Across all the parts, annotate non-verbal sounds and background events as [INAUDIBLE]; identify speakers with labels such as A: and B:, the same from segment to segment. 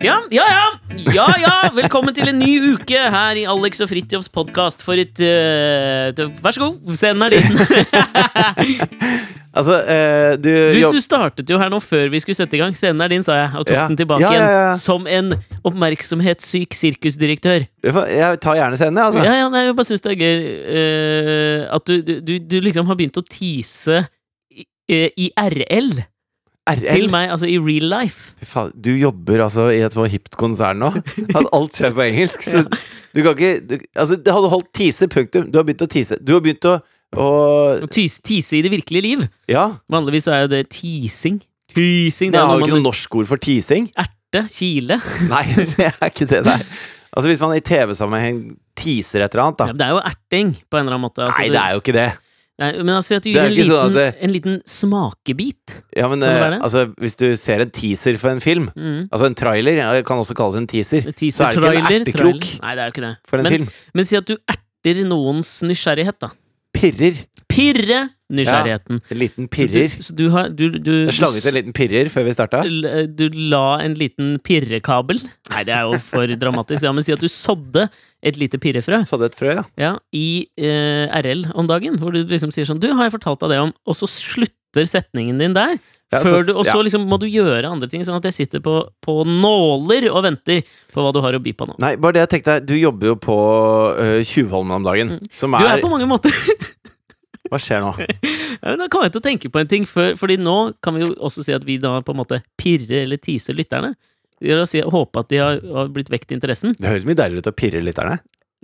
A: Ja, ja, ja! ja, ja. Velkommen til en ny uke her i Alex og Fridtjofs podkast for et eh, til- Vær så god, scenen er
B: [LAUGHS]
A: din.
B: Altså, eh, du,
A: Du,
B: jobb-
A: du startet jo her nå før vi skulle sette i gang. Scenen er din, sa jeg, og tok
B: Ja.
A: den tilbake
B: Ja, ja, ja.
A: igjen. Som en oppmerksomhetssyk sirkusdirektør.
B: Jeg tar gjerne scenen, jeg, altså.
A: Ja, ja, nei, jeg bare syns det er gøy eh, at du, du, du liksom har begynt å tease i, eh, i RL til
B: RL.
A: meg, altså i real life.
B: Fy faen, du jobber altså i et sånt hipt konsern nå. At alt skjer på engelsk.
A: [LAUGHS]
B: Så du kan ikke du, Altså, det hadde holdt tise, punktum. Du har begynt å tise. Du har begynt å, å
A: Å tys- tease i det virkelige liv.
B: Ja.
A: Vanligvis så er jo det teasing. Teasing, det er
B: Men jeg har jo
A: når
B: ikke
A: man
B: noe norsk ord for tising.
A: erte, kile.
B: Nei, [LAUGHS] det er ikke det der. Altså, hvis man i TV-sammenheng teaser et eller annet,
A: Ja,
B: da.
A: men det er jo erting, på en eller annen måte. Altså,
B: Nei, det er jo ikke det.
A: nei, men altså, at du
B: Det er
A: gir en
B: ikke
A: liten,
B: sånn at
A: en liten smakebit.
B: Ja, men
A: Kan det
B: eh,
A: være det?
B: altså, hvis du ser en teaser for en film
A: Mm.
B: Altså, en trailer ja, kan også kalles en teaser. Så
A: Teaser,
B: er det ikke en
A: trailer,
B: ertekrok
A: trailer. Nei, det er jo ikke det.
B: for en
A: men,
B: film.
A: men si at du erter noens nysgjerrighet, da.
B: Pirrer.
A: Pirre nysgjerrigheten.
B: En liten pirrer.
A: Så du, så du har du, du,
B: Jeg slanget en liten pirrer før vi starta.
A: l- du la en liten pirrekabel Nei, det er jo for dramatisk. Ja, men si at du sådde et lite pirrefrø
B: Sådde et frø, ja.
A: ja, i eh, RL om dagen. Hvor du liksom sier sånn Du, har jeg fortalt deg det om? Og så slutter setningen din der.
B: Ja,
A: før
B: så-
A: du, og så
B: ja.
A: liksom må du gjøre andre ting, sånn at jeg sitter på, på nåler og venter på hva du har å by på nå.
B: Nei, bare det jeg tenkte er, Du jobber jo på øh, Tjuvholmen om dagen. Som
A: Mm. Du er
B: er,
A: på mange måter [LAUGHS]
B: Hva skjer nå?
A: Ja, men Da kom jeg til å tenke på en ting, for, fordi nå kan vi jo også si at vi da på en måte pirrer eller teaser lytterne. Vi har å si, håpe at de har, har blitt vekt interessen.
B: Det høres mye deiligere ut å pirre lytterne.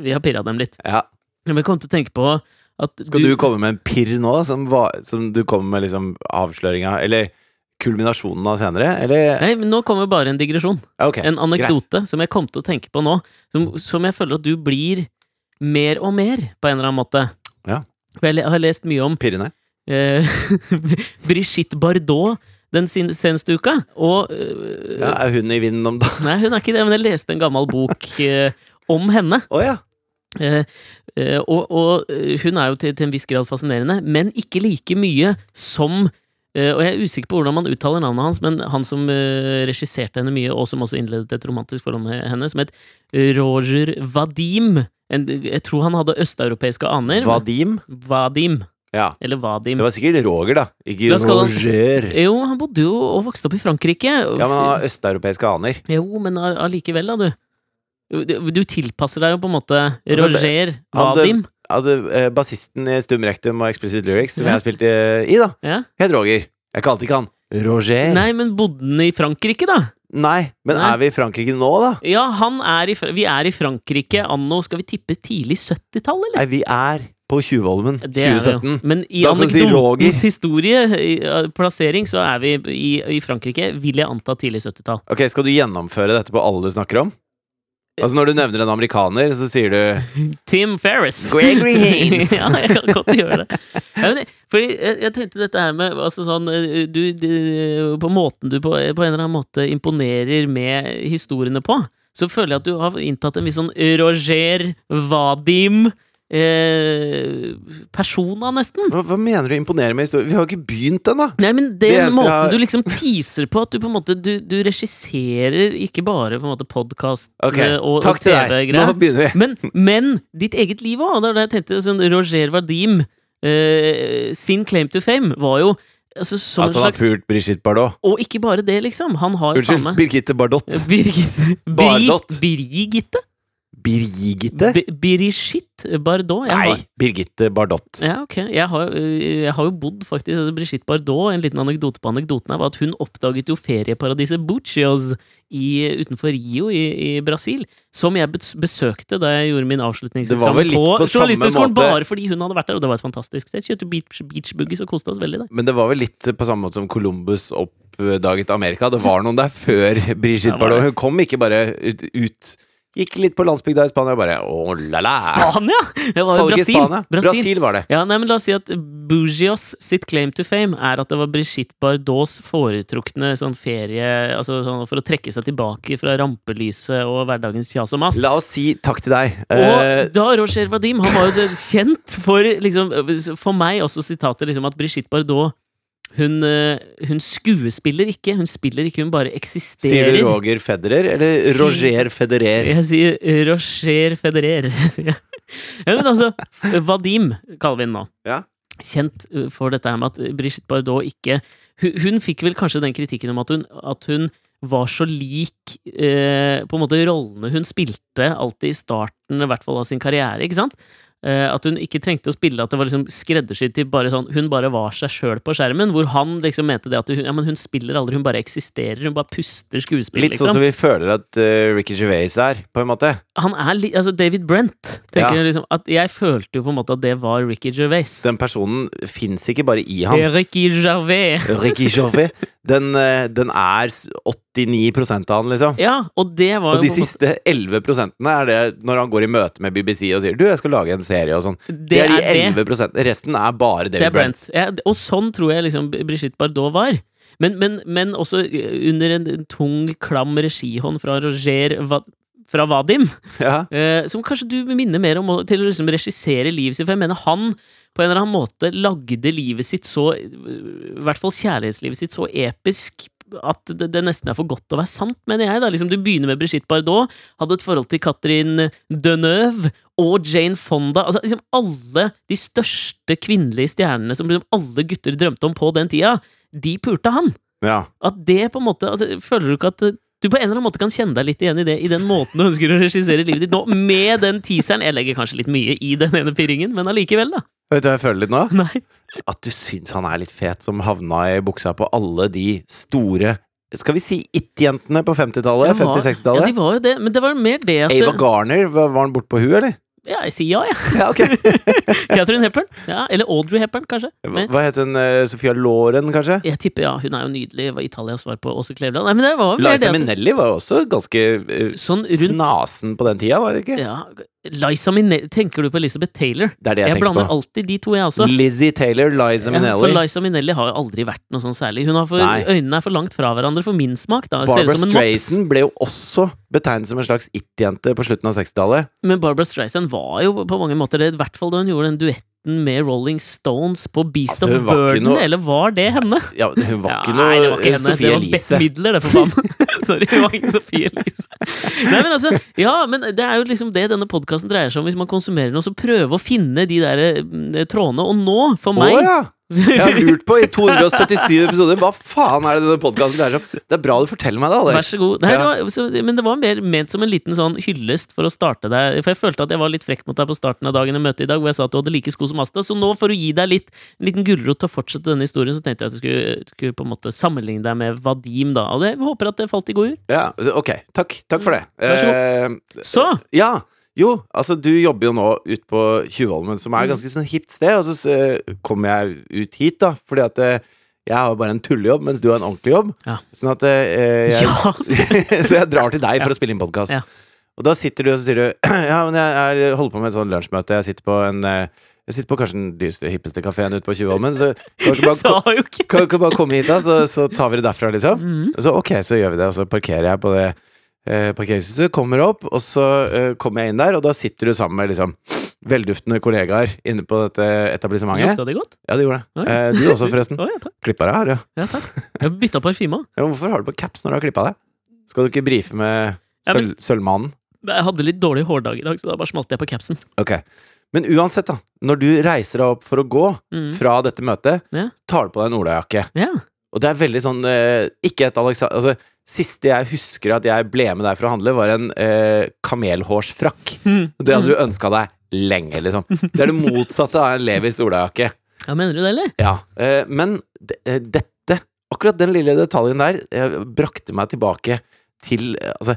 A: Vi har pirra dem litt.
B: Ja.
A: Men jeg kom til å tenke på at
B: Skal du, komme med en pirr nå, som, var, som du kommer med liksom avsløringa Eller kulminasjonen av senere? Eller
A: Nei, men Nå kommer bare en digresjon.
B: Ok.
A: En anekdote som jeg kom til å tenke på nå. Som, som jeg føler at du blir mer og mer, på en eller annen måte.
B: Ja.
A: For jeg le- har lest mye om
B: Pirrende.
A: eh, [LAUGHS] Brigitte Bardot den sin- seneste uka. Og eh,
B: Ja, er hun i vinden om
A: [LAUGHS]
B: dagen?
A: Nei, hun er ikke det, men jeg leste en gammel bok eh, om henne.
B: Å ja!
A: Eh, eh, og, og eh, hun er jo til, til en viss grad fascinerende, men ikke like mye som eh, Og jeg er usikker på hvordan man uttaler navnet hans, men han som eh, regisserte henne mye, og som også innledet et romantisk forhold med henne, som het eh, Roger Vadim. En, jeg tror han hadde østeuropeiske aner. men-
B: Vadim?
A: Vadim.
B: Ja.
A: Eller Vadim.
B: Det var sikkert Roger, da. Ikke
A: Da skal han-
B: Roger.
A: Jo, han bodde jo og vokste opp i Frankrike.
B: Ja, men han har østeuropeiske aner.
A: Jo, men all- allikevel, da, du. Du, du tilpasser deg jo på en måte
B: Altså, det-
A: Roger
B: han dø-
A: Vadim.
B: Altså, eh, Bassisten i Stum Rectum og Explicit Lyrics, som
A: Ja.
B: jeg har spilt eh, i, da,
A: Ja.
B: het Roger. Jeg kalte ikke han Roger.
A: Nei, men bodde han i Frankrike, da?
B: Nei, men
A: Nei.
B: er vi i Frankrike nå, da?
A: Ja, han er i, Fra- vi er i Frankrike anno Skal vi tippe tidlig 70-tall, eller?
B: Nei, vi er på Tjuvholmen
A: Det er vi jo.
B: 2017.
A: Men i
B: Da kan du si Roger.
A: anekdotens historie, i, uh, plassering, så er vi i, i Frankrike, vil jeg anta, tidlig 70-tall.
B: Ok, Skal du gjennomføre dette på alle du snakker om? Altså Når du nevner en amerikaner, så sier du
A: Tim Ferris! [LAUGHS]
B: Gregory Haynes.
A: ja, jeg kan godt gjøre det. Ja, men, jeg- fordi eh, jeg, jeg tenkte dette her med altså sånn eh, du, du, På måten du på, eh, på en eller annen måte imponerer med historiene på, så føler jeg at du har inntatt en viss sånn Roger Vadim eh, Persona, nesten.
B: Hva, hva mener du imponerer med historie? Vi har jo ikke begynt ennå!
A: Nei, men
B: Det
A: den
B: eneste jeg
A: måten
B: har-
A: du liksom teaser på, at du på en måte Du, du regisserer ikke bare på en måte podkast
B: Ok,
A: og, og
B: takk til deg. Nå
A: TV-greier.
B: begynner vi.
A: Men, men ditt eget liv òg. Det er det jeg tenkte. Sånn, Roger Vadim eh, sin claim to fame var jo altså, som en
B: At han har
A: slags
B: pult Brigitte Bardot.
A: Og ikke bare det, liksom. Han har jo
B: Unnskyld,
A: samme
B: Birgitte Bardot.
A: Birgitte
B: Bardot.
A: Bri- Birgitte?
B: Birgitte?
A: Bi- Brigitte Bardot. Jeg
B: Nei,
A: Har,
B: Birgitte Bardot.
A: ja, ok. Jeg har, eh, jeg har jo bodd faktisk altså, Brigitte Bardot. En liten anekdote på anekdoten her var at hun oppdaget jo ferieparadiset Buccios i, utenfor Rio i, i Brasil, som jeg bes- besøkte da jeg gjorde min
B: Det var vel
A: avslutningseksamen
B: litt på samme måte-
A: bare fordi hun hadde vært der, og det var et fantastisk sted. Kjøpte beach, beach boogies og koste oss veldig der.
B: Men det var vel litt på samme måte som Columbus oppdaget Amerika. Det var noen der før
A: Ja,
B: Brigitte
A: var det?
B: Bardot. Hun kom ikke bare ut. ut. Gikk litt på landsbygda i Spania og bare å la la.
A: Spania! Det var jo
B: Salget i
A: Brasil.
B: Spania.
A: Brasil.
B: Brasil var det.
A: Ja, nei, men La oss si at Bugios sitt claim to fame er at det var Brigitte Bardots foretrukne sånn ferie altså sånn For å trekke seg tilbake fra rampelyset og hverdagens kjas og mas.
B: La oss si takk til deg. Eh,
A: og da Roger Vadim Han var jo kjent for liksom, For meg også sitatet liksom, at Brigitte Bardot Hun, eh, hun skuespiller ikke, hun spiller ikke, hun bare
B: Sier
A: eksisterer.
B: du Roger Federer eller Roger Federer?
A: Jeg sier eh, Roger Federer. [LAUGHS] sier jeg. ja, men altså, eh, Vadim kaller vi henne nå.
B: Ja.
A: Kjent eh, for dette her med at eh, Brigitte Bardot ikke hun, hun fikk vel kanskje den kritikken om at hun, at hun var så lik eh, på en måte rollene hun spilte alltid i starten i hvert fall av sin karriere. ikke sant? Eh, at hun ikke trengte å spille at det var liksom skreddersydd til bare sånn Hun bare var seg sjøl på skjermen, hvor han liksom mente det at hun, ja, men hun spiller aldri, hun bare eksisterer. Hun bare puster skuespill.
B: Litt
A: liksom
B: sånn som vi føler at eh, Ricky Gervais er, på en måte.
A: han er li altså David Brent. tenker
B: Ja.
A: Jeg liksom at Jeg følte jo på en måte at det var Ricky Gervais.
B: Den personen fins ikke bare i
A: Det
B: han.
A: er Ricky Gervais.
B: Ricky Gervais. Den, eh, den er s- 89 av han, liksom.
A: Ja, og det var
B: Og de
A: jo på en måte-
B: siste 11 er det når han går i møte med BBC og sier 'du, jeg skal lage en serie' og sånn.
A: det er
B: de
A: det.
B: 11 Resten er bare
A: Det
B: David
A: er
B: Brent.
A: Brent. Ja, og sånn tror jeg liksom Brigitte Bardot var. Men, men, men også eh, under en tung, klam regihånd fra Roger Va fra Vadim,
B: Ja.
A: eh, som kanskje du minner mer om å- til å liksom regissere livet sitt. For jeg mener han på en eller annen måte lagde livet sitt så I hvert fall kjærlighetslivet sitt så episk at det, det nesten er for godt til å være sant, mener jeg. da liksom Du begynner med Brigitte Bardot, hadde et forhold til Catherine Deneuve og Jane Fonda. altså liksom Alle de største kvinnelige stjernene som liksom alle gutter drømte om på den tida, de pulte han.
B: ja.
A: At det på en måte at, Føler du ikke at du på en eller annen måte kan kjenne deg litt igjen i det, i den måten du ønsker å regissere livet ditt nå, med den teaseren? Jeg legger kanskje litt mye i den ene pirringen, men allikevel, da. [LAUGHS]
B: Vet du hva jeg føler litt nå?
A: Nei.
B: At du syns han er litt fet, som havna i buksa på alle de store Skal vi si it-jentene på 50-tallet?
A: Det var- Ja,
B: 50-60-tallet?
A: de var jo det, men det var mer det at
B: Ava Garner, var var han bort på hun, eller?
A: Ja, jeg sier [LAUGHS] ja, jeg.
B: Ja, ok
A: Catherine Hepburn. Ja, eller Audrey Hepburn, kanskje.
B: Hva
A: Men
B: [LAUGHS] hva het hun? eh, Sofia Loren, kanskje?
A: jeg tipper ja, hun er jo nydelig. Var Italias svar på Åse Kleveland. Nei, men det var mer det
B: Liza
A: at
B: Minnelli var jo også ganske eh,
A: Sånn rundt
B: snasen på den tida, var det ikke?
A: ja, Liza Minnelli Tenker du på Elizabeth Taylor?
B: Det er det jeg,
A: Jeg blander
B: tenker på.
A: alltid de to, jeg også.
B: Lizzie Taylor, Liza
A: Ja, for
B: Minnelli.
A: Liza Minnelli har jo aldri vært noe sånn særlig. Hun har for,
B: Nei.
A: øynene er for langt fra hverandre for min smak. da Ser ut
B: Barbara
A: som en mops.
B: Streisand ble jo også betegnet som en slags it-jente på slutten av 60-tallet.
A: Men Barbara Streisand var jo på mange måter det, i hvert fall da hun gjorde den duetten med Rolling Stones på Beast
B: Altså, hun
A: of
B: var ikke
A: Burden.
B: noe-
A: Eller var det henne?
B: Ja, hun var ikke
A: Nei, det
B: noe
A: var ikke
B: eh,
A: henne.
B: Sophie
A: det var Bette
B: Elise.
A: Midler, det, for faen. [LAUGHS] Sorry, det var ikke Sophie Elise. Nei, men altså, ja, men det er jo liksom det denne podkasten dreier seg om. Hvis man konsumerer noe, så prøve å finne de der eh, trådene. Og nå, for
B: Å
A: meg
B: ja! Jeg har lurt på
A: [LAUGHS]
B: i 277 episoder hva faen er det denne podkasten dreier seg om? Det er bra du forteller meg det,
A: Vær
B: Alex.
A: så god. Nei,
B: Ja.
A: det var, så, men det var mer ment som en liten sånn hyllest for å starte deg. For jeg følte at jeg var litt frekk mot deg på starten av dagen i møtet i dag, hvor jeg sa at du hadde like sko som Asta. Så nå, for å gi deg litt, en liten gulrot til å fortsette denne historien, så tenkte jeg at jeg skulle, skulle på en måte sammenligne deg med Vadim, da. Og det, jeg håper at det falt i god jord.
B: Ja, ok, takk. Takk for det.
A: Vær
B: Eh,
A: Så!
B: ja, jo, altså du jobber jo nå ut på Tjuvholmen, som
A: Mm.
B: er et ganske sånn hipt sted, og så eh, kommer jeg ut hit, da, fordi at eh, jeg har bare en tullejobb, mens du har en ordentlig jobb.
A: Ja.
B: Sånn at eh, jeg
A: Ja!
B: [LAUGHS] så jeg drar til deg for å spille inn podkast.
A: Ja.
B: Og da sitter du og så sier du [CLEARS THROAT] Ja, men jeg, jeg holder på med et sånt lunsjmøte. Jeg sitter på en eh, Jeg sitter på kanskje den dyreste, hippeste kafeen ute på Tjuvholmen, så kan du ikke
A: [LAUGHS] Jeg sa
B: bare,
A: jo ikke
B: kan du ikke bare komme hit, da, så, så tar vi det derfra, liksom?
A: Mhm.
B: Så ok, så gjør vi det, og så parkerer jeg på det eh, parkeringshuset, kommer opp, og så eh, kommer jeg inn der, og da sitter du sammen med liksom velduftende kollegaer inne på dette etablissementet.
A: Lukta det godt?
B: Ja, det gjorde det.
A: Oi.
B: Eh, du også, forresten.
A: [LAUGHS] Å ja, takk.
B: Klippa deg her, ja.
A: Ja, takk. Jeg bytta parfyme òg.
B: Ja, men hvorfor har du på caps når du har klippa deg? Skal du ikke brife med
A: Ja, men-
B: sølv, Sølvmannen?
A: Jeg hadde litt dårlig hårdag i dag, så da bare smalt jeg på capsen.
B: Ok. Men uansett, da. Når du reiser deg opp for å gå
A: Mhm.
B: fra dette møtet,
A: Ja.
B: tar du på deg en olajakke.
A: Ja.
B: Og det er veldig sånn eh, Ikke et Alexander Altså, siste jeg husker at jeg ble med deg for å handle, var en eh, kamelhårsfrakk. Det hadde
A: Mm.
B: du ønska deg lenge, liksom. Det er det motsatte av en Levis olajakke.
A: Ja, mener du det, eller?
B: Ja. Eh, men de, eh, dette, akkurat den lille detaljen der, eh, brakte meg tilbake til eh, altså,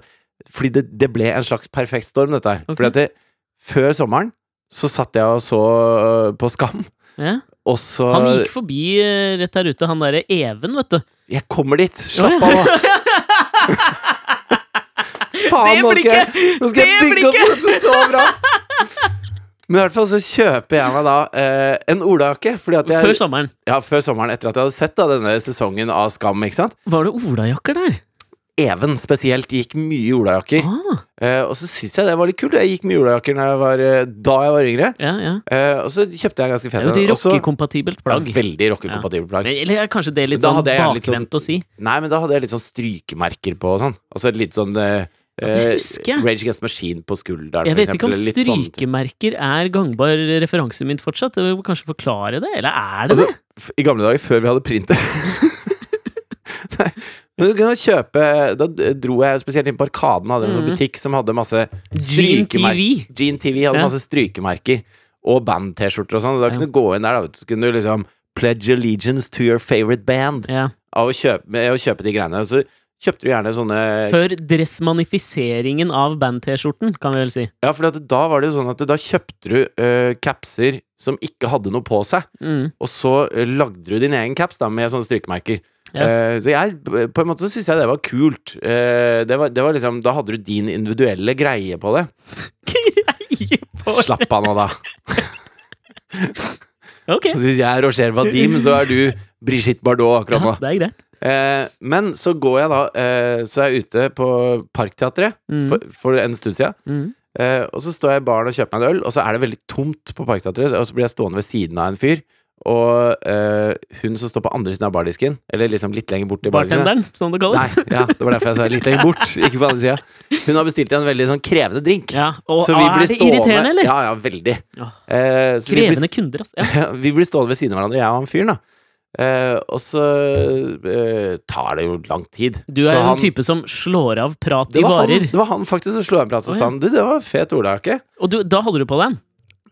B: Fordi det, det ble en slags perfekt storm, dette her.
A: Ok.
B: Fordi at det, før sommeren så satt jeg og så eh, på Skam,
A: Ja.
B: og så
A: Han gikk forbi eh, rett her ute, han derre Even, vet du.
B: Jeg kommer dit! Slapp av, nå!
A: [LAUGHS]
B: Faen,
A: Det
B: nå skal jeg,
A: blikket!
B: nå skal jeg
A: Det
B: bygge opp dette så bra!
A: [LAUGHS]
B: Men i hvert fall så kjøper jeg meg da eh, en olajakke. fordi at jeg-
A: Før sommeren.
B: Ja, før sommeren, etter at jeg hadde sett da, denne sesongen av Skam. ikke sant?
A: Var det olajakker der?
B: Even spesielt gikk mye olajakker.
A: Ah,
B: Eh, og så syns jeg det var litt kult. Jeg gikk mye olajakker da jeg var, eh, da jeg var yngre.
A: ja, ja.
B: Eh, og så kjøpte jeg ganske
A: Det
B: fett
A: er jo
B: en.
A: et
B: Og så-
A: rockekompatibelt plagg.
B: Ja, veldig rockekompatibelt plagg.
A: Eller er kanskje det litt
B: Da
A: sånn
B: hadde jeg litt
A: bakvendt å si?
B: Nei, men da hadde jeg litt sånn strykemerker på og sånn. Altså et litt sånn eh,
A: det
B: eh,
A: husker jeg.
B: Rage Against the Machine på skulderen,
A: Jeg
B: for
A: vet ikke om
B: eksempel. Litt sånn- sånne ting.
A: strykemerker er gangbar referanse min fortsatt. Jeg må kanskje forklare det? Eller er det
B: Altså,
A: det?
B: f- I gamle dager, før vi hadde printer [LAUGHS] Nei, men du kunne kjøpe Da d- dro jeg spesielt inn på Arkaden, hadde en sånn
A: Mhm.
B: butikk som hadde masse
A: Dream
B: strykemerker.
A: TV.
B: Gene TV hadde
A: Ja.
B: masse strykemerker og band-T-skjorter og sånn. og Da
A: Ja.
B: kunne du gå inn der, da, så kunne du liksom Pledge allegiance to your favorite band
A: Ja.
B: av å kjøpe, med å kjøpe de greiene. Og så kjøpte du gjerne sånne
A: Før dressmanifiseringen av band-T-skjorten, kan vi vel si.
B: Ja, for at da var det jo sånn at da kjøpte du eh, capser som ikke hadde noe på seg,
A: Mm. [LAUGHS]
B: og så eh, lagde du din egen caps da med sånne strykemerker.
A: Ja.
B: Eh, så jeg, på en måte så syns jeg det var kult. Eh, det, var, det var liksom Da hadde du din individuelle greie på det.
A: Greie på det.
B: Slapp av nå, da.
A: Ok.
B: Så hvis jeg er Roger Vadim, så er du Brigitte Bardot akkurat nå.
A: Ja, det er greit.
B: Eh, men så går jeg da eh, Så er jeg ute på Parkteatret
A: Mm.
B: for, for en stund siden.
A: Mm.
B: Eh, og så står jeg i baren og kjøper meg en øl, og så er det veldig tomt på Parkteatret. Og så blir jeg stående ved siden av en fyr, og eh, hun som står på andre siden av bardisken, eller liksom litt lenger bort i bardisken
A: Bartenderen, som det
B: Nei,
A: kalles.
B: ja, det var derfor jeg sa litt lenger bort. Ikke på andre siden. Hun har bestilt en veldig sånn krevende drink.
A: Ja, og
B: så vi
A: ah, er
B: blir
A: det
B: stående
A: irriterende, eller?
B: Ja, ja, veldig.
A: Åh.
B: Eh, så vi blir-
A: Krevende kunder, altså. Ja.
B: [LAUGHS] vi blir stående ved siden av hverandre, jeg og han fyren, da. Eh, og så eh, tar det jo lang tid.
A: Du
B: Så
A: er jo
B: han-
A: en type som slår av prat
B: det
A: i
B: var, han,
A: varer.
B: det var han faktisk som slo en prat og
A: Å, ja.
B: sa han, Du, det var fet olajakke.
A: Og du, da holder du på den?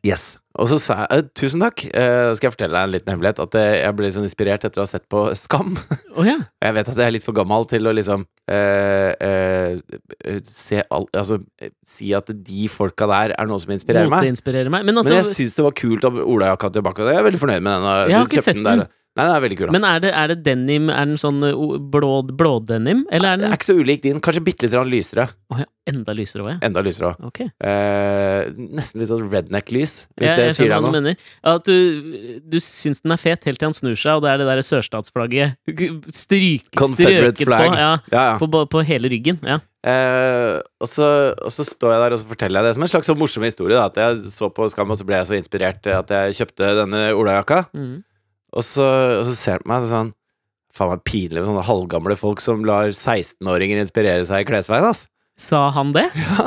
B: Yes. Og så sa jeg «Eh, tusen takk. Eh, skal jeg fortelle deg en liten hemmelighet? At eh, jeg ble sånn inspirert etter å ha sett på Skam.
A: Å ja.
B: Og jeg vet at jeg er litt for gammel til å liksom eh, eh, se all, altså, eh, si at de folka der er noe som inspirerer meg.
A: Moteinspirerer meg. Men,
B: Men jeg
A: altså,
B: syns det var kult av olajakka tilbake, og jeg er veldig fornøyd med den. og
A: Jeg har ikke
B: kjøpte
A: sett
B: der.
A: den.
B: Nei, den er veldig kul. da.
A: men er, det, er det denim? Er den sånn uh, o- blå, blådenim? Eller er
B: Det
A: den
B: er ikke så ulik din. Kanskje bitte litt grann lysere.
A: Å ja, enda lysere òg, ja.
B: Enda lysere også.
A: Ok.
B: Eh, nesten litt sånn redneck-lys, hvis
A: Jeg,
B: det
A: jeg
B: sier
A: skjønner
B: deg
A: hva du
B: noe.
A: mener. At du, du syns den er fet helt til han snur seg, og det er det der sørstatsflagget stryk, strøket
B: Confederate
A: på,
B: flag.
A: ja,
B: Ja, ja.
A: på, på hele ryggen. Ja.
B: Eh, og, så, og så står jeg der og så forteller jeg det som en slags sånn morsom historie. Da, at jeg så på Skam, og så ble jeg så inspirert eh, at jeg kjøpte denne olajakka.
A: Mm.
B: Og så, og så ser han på meg og sånn Faen meg pinlig med sånne halvgamle folk som lar 16-åringer inspirere seg i klesveien, ass.
A: Sa han det? Hæ,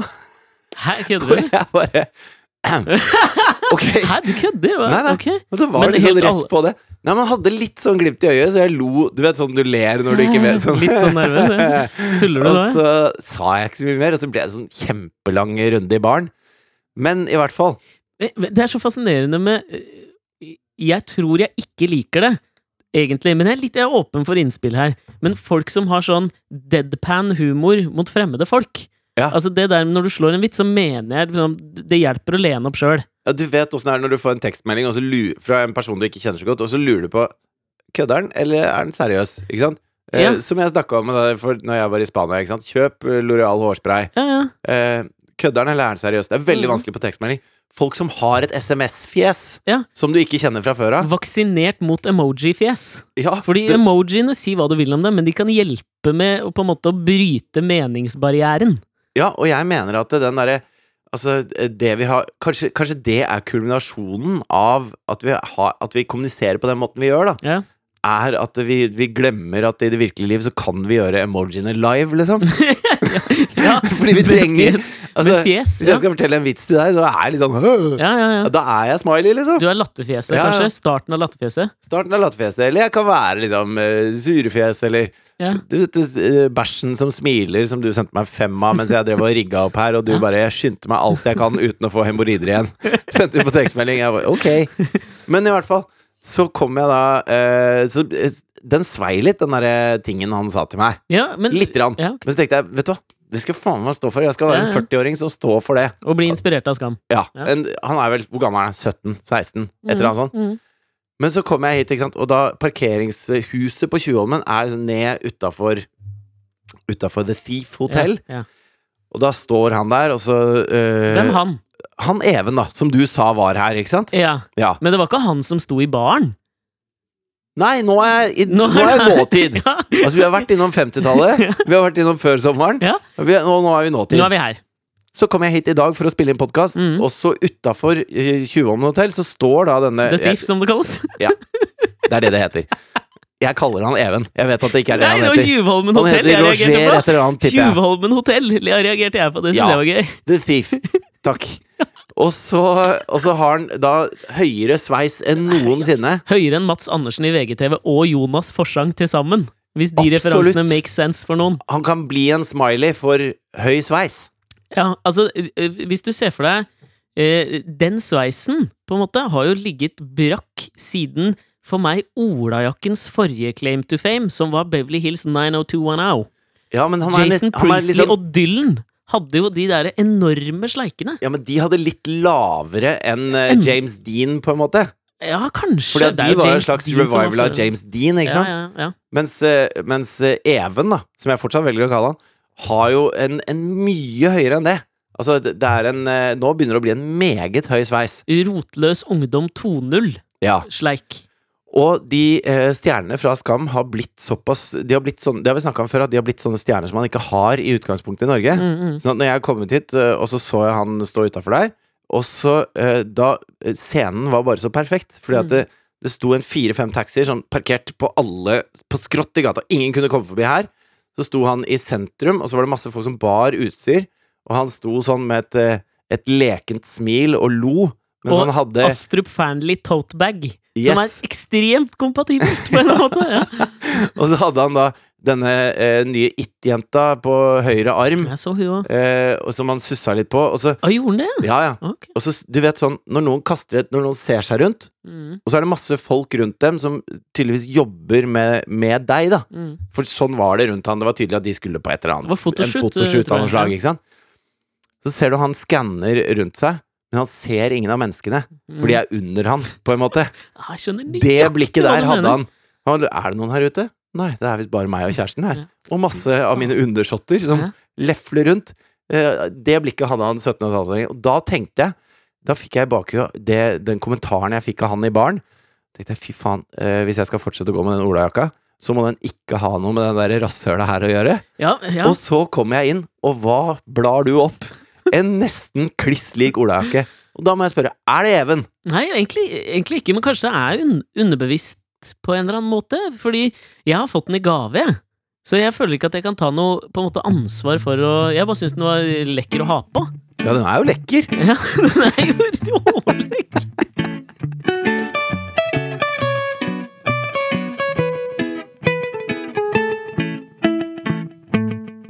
B: Og
A: kødder du?
B: [LAUGHS] jeg bare [CLEARS THROAT] Ok.
A: [LAUGHS] Hæ, du kødder? Hva?
B: Nei, nei.
A: Ok.
B: Og så var
A: Men
B: det sånn
A: helt
B: rett
A: alle-
B: på det. Nei, men Han hadde litt sånn glimt i øyet, så jeg lo. Du vet sånn du ler når du ikke vet sånn.
A: [LAUGHS] Litt sånn nervøs,
B: [LAUGHS]
A: ja. Tuller du
B: og
A: da?
B: så sa jeg ikke så mye mer, og så ble det sånn kjempelang runde i baren. Men i hvert fall
A: Men- Eh, men Det er så fascinerende med eh, Jeg tror jeg ikke liker det, egentlig, men jeg er litt jeg er åpen for innspill her. Men folk som har sånn deadpan humor mot fremmede folk
B: Ja.
A: Altså det der Når du slår en vits, så mener jeg liksom, det hjelper å lene opp sjøl.
B: ja, Du vet åssen det er når du får en tekstmelding og så lu- fra en person du ikke kjenner så godt, og så lurer du på Kødder han, eller er han seriøs? Ikke sant? Eh,
A: Ja.
B: Som jeg snakka om da for når jeg var i Spania. Ikke sant? Kjøp eh, L'Oreal hårspray.
A: Ja, ja.
B: Eh, kødder han, eller er han seriøs? Det er veldig
A: Mhm.
B: vanskelig på tekstmelding. Folk som har et SMS-fjes
A: Ja.
B: som du ikke kjenner fra før av.
A: Vaksinert mot emoji-fjes.
B: Ja,
A: Fordi
B: det-
A: emojiene si hva du vil om dem, men de kan hjelpe med å på en måte å bryte meningsbarrieren.
B: Ja, og jeg mener at den derre Altså, det vi har kanskje, kanskje det er kulminasjonen av at vi, har, at vi kommuniserer på den måten vi gjør, da.
A: Ja.
B: Er at vi, vi glemmer at i det virkelige liv så kan vi gjøre emojiene live, liksom.
A: [LAUGHS] Ja,
B: [LAUGHS] Fordi vi
A: med
B: trenger
A: fjes-
B: altså,
A: med fjes.
B: Hvis
A: Ja.
B: jeg skal fortelle en vits til deg, så er jeg liksom «Åh!»
A: ja, ja, ja.
B: Da er jeg smiley, liksom.
A: Du er latterfjeset,
B: Ja, ja.
A: kanskje? Starten av latterfjeset?
B: Starten av latterfjeset. Eller jeg kan være liksom eh, surefjes, eller
A: Ja.
B: du, vet, eh, bæsjen som smiler, som du sendte meg fem av mens jeg drev og rigga opp her, og du
A: Ja.
B: bare Jeg skyndte meg alt jeg kan uten å få hemoroider
A: [LAUGHS]
B: igjen. Sendte du på tekstmelding. Jeg bare ok. Men i hvert fall, så kom jeg da eh, Så eh, den svei litt, den derre tingen han sa til meg.
A: Ja, men,
B: Litt. Rann.
A: Ja, ok.
B: Men så tenkte jeg, vet du hva, det skal faen meg stå for. Jeg skal være
A: Ja,
B: en
A: ja.
B: 40-åring som står for det.
A: Og bli inspirert av Skam.
B: Ja.
A: Ja.
B: En, han er vel Hvor gammel er han? 17-16? Et eller annet sånt.
A: Mm.
B: Men så kom jeg hit, ikke sant? og da parkeringshuset på Tjuvholmen er liksom ned utafor Utafor The Thief Hotel.
A: Ja, ja.
B: Og da står han der, og så øh,
A: Hvem han?
B: Han Even, da, som du sa var her, ikke sant?
A: Ja.
B: Ja.
A: Men det var ikke han som sto i baren.
B: Nei, nå er jeg, i, nå er jeg nåtid!
A: [LAUGHS] Ja,
B: Altså, vi har vært
A: [LAUGHS]
B: innom 50-tallet, vi har vært innom før sommeren,
A: Ja.
B: og vi, er- nå, nå er vi nåtid. Eh,
A: nå er vi her.
B: Så kom jeg hit i dag for å spille inn podkast,
A: Mhm.
B: og så utafor eh, Tjuvholmen hotell så står da denne
A: The Thief, som det kalles.
B: Det er det det heter. Jeg kaller han Even. Jeg vet at det ikke er
A: [LAUGHS]
B: det
A: Nei, det
B: han
A: var
B: heter.
A: Tjuvholmen
B: Han
A: hotell jeg
B: heter Roger
A: reagerte på.
B: et eller annet, tipper jeg.
A: Tjuvholmen hotell jeg reagerte jeg på. Det syns
B: Ja.
A: jeg var gøy.
B: The Thief. Takk. Og så, og så har han da høyere sveis enn noensinne.
A: Høyere enn Mats Andersen i VGTV og Jonas Forsang til sammen. Hvis de
B: Absolutt.
A: referansene make sense for noen.
B: Han kan bli en smiley for høy sveis.
A: Ja, altså, eh, hvis du ser for deg eh, Den sveisen, på en måte, har jo ligget brakk siden for meg olajakkens forrige claim to fame, som var Beverly Hills 90210.
B: Ja, men han er,
A: Jason
B: litt, han er
A: Priestley
B: liksom,
A: og Dylan hadde jo de der enorme sleikene.
B: ja, men de hadde litt lavere enn eh,
A: Mm.
B: James Dean, på en måte.
A: Ja, kanskje.
B: Fordi at
A: Det er
B: de
A: jo
B: var en
A: James
B: slags
A: Dean som var
B: revival av
A: for-
B: James Dean, ikke sant?
A: Ja, ja, ja.
B: Mens, eh, mens eh, Even, da, som jeg fortsatt velger å kalle han, har jo en, en mye høyere enn det. Altså, det det er en eh, Nå begynner det å bli en meget høy sveis.
A: Rotløs ungdom 2.0.
B: Ja.
A: Sleik.
B: Og de eh, stjernene fra Skam har blitt såpass De har blitt sånn, det har vi snakka om før, at de har blitt sånne stjerner som man ikke har i utgangspunktet i Norge.
A: Mm, mm.
B: Sånn at når jeg kom ut hit, eh, og så så jeg han stå utafor der, og så eh, da eh, Scenen var bare så perfekt, fordi
A: Mm.
B: at det, det sto en fire-fem taxier sånn parkert på alle På skrått i gata. Ingen kunne komme forbi her. Så sto han i sentrum, og så var det masse folk som bar utstyr, og han sto sånn med et, eh, et lekent smil og lo, mens
A: Og
B: han hadde
A: Astrup Fearnley totebag, som er
B: Yes!
A: ekstremt kompatibelt, på en måte.
B: [LAUGHS]
A: Ja.
B: [LAUGHS] Og så hadde han da denne eh, nye It-jenta på høyre arm,
A: Jeg så hun òg.
B: eh, og som han sussa litt på, og så
A: gjorde han det?
B: Ja, ja.
A: Ok.
B: Og så, du vet sånn, når noen kaster et, når noen ser seg rundt,
A: Mm,
B: og så er det masse folk rundt dem som tydeligvis jobber med, med deg, da.
A: mm.
B: For sånn var det rundt han. Det var tydelig at de skulle på et eller annet.
A: Det var fotoshoot,
B: en fotoshoot
A: tror
B: av noe
A: jeg,
B: slag,
A: ja.
B: ikke sant. Så ser du han skanner rundt seg, men han ser ingen av menneskene,
A: Mm.
B: for de er under han, på en måte.
A: Ah, Jeg skjønner
B: Det
A: nøyaktig
B: blikket
A: hva
B: der
A: du
B: hadde
A: mener.
B: han. han. Er det noen her ute? Nei, det er visst bare meg og kjæresten her.
A: Ja.
B: Og masse av mine undersåtter som
A: Ja.
B: lefler rundt. Eh, Det blikket hadde han 17 åringen Og da tenkte jeg Da fikk jeg i bakhuet det- den kommentaren jeg fikk av han i baren. Tenkte jeg, fy faen, eh, hvis jeg skal fortsette å gå med den olajakka, så må den ikke ha noe med den der rasshøla her å gjøre.
A: Ja, ja.
B: Og så kom jeg inn, og hva blar du opp? En nesten kliss lik olajakke. Og da må jeg spørre, er det Even?
A: Nei, egentlig, egentlig ikke, men kanskje det er un underbevisst på en eller annen måte? Fordi jeg har fått den i gave, jeg. Så jeg føler ikke at jeg kan ta noe på en måte ansvar for å Jeg bare syns den var lekker å ha på.
B: Ja, den er jo lekker.
A: Ja, [LAUGHS] den er jo rålekk.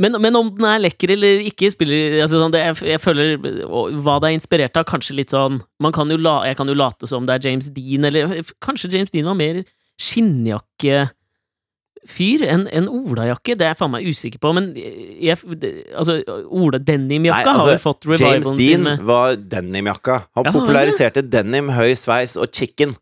A: Men, men om den er lekker eller ikke, spiller altså, sånn, det, jeg, jeg føler og Hva det er inspirert av, kanskje litt sånn man kan jo la, Jeg kan jo late som det er James Dean, eller kanskje James Dean var mer skinnjakkefyr enn enn olajakke. Det er jeg faen meg usikker på, men eh, jeg, det- altså, Ola Denimjakka
B: Nei, altså,
A: har vel fått
B: James
A: revivalen sin eh.
B: Dean
A: med
B: var denimjakka. Han
A: Ja, han var
B: populariserte denim, høy sveis og chicken.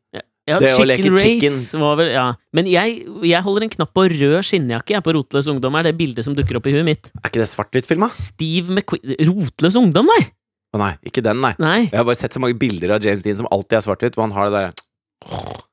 A: Ja,
B: Det å
A: Chicken
B: leke
A: Race
B: chicken.
A: var vel Ja. Men jeg, jeg holder en knapp på rød skinnjakke jeg, på Rotløs ungdom. er det bildet som dukker opp i huet mitt.
B: Er ikke det svart-hvitt-film, da?
A: Steve McQueen Rotløs ungdom, nei!
B: Å nei, ikke den, nei.
A: Nei.
B: Jeg har bare sett så mange bilder av James Dean som alltid er svart-hvitt, hvor han har det der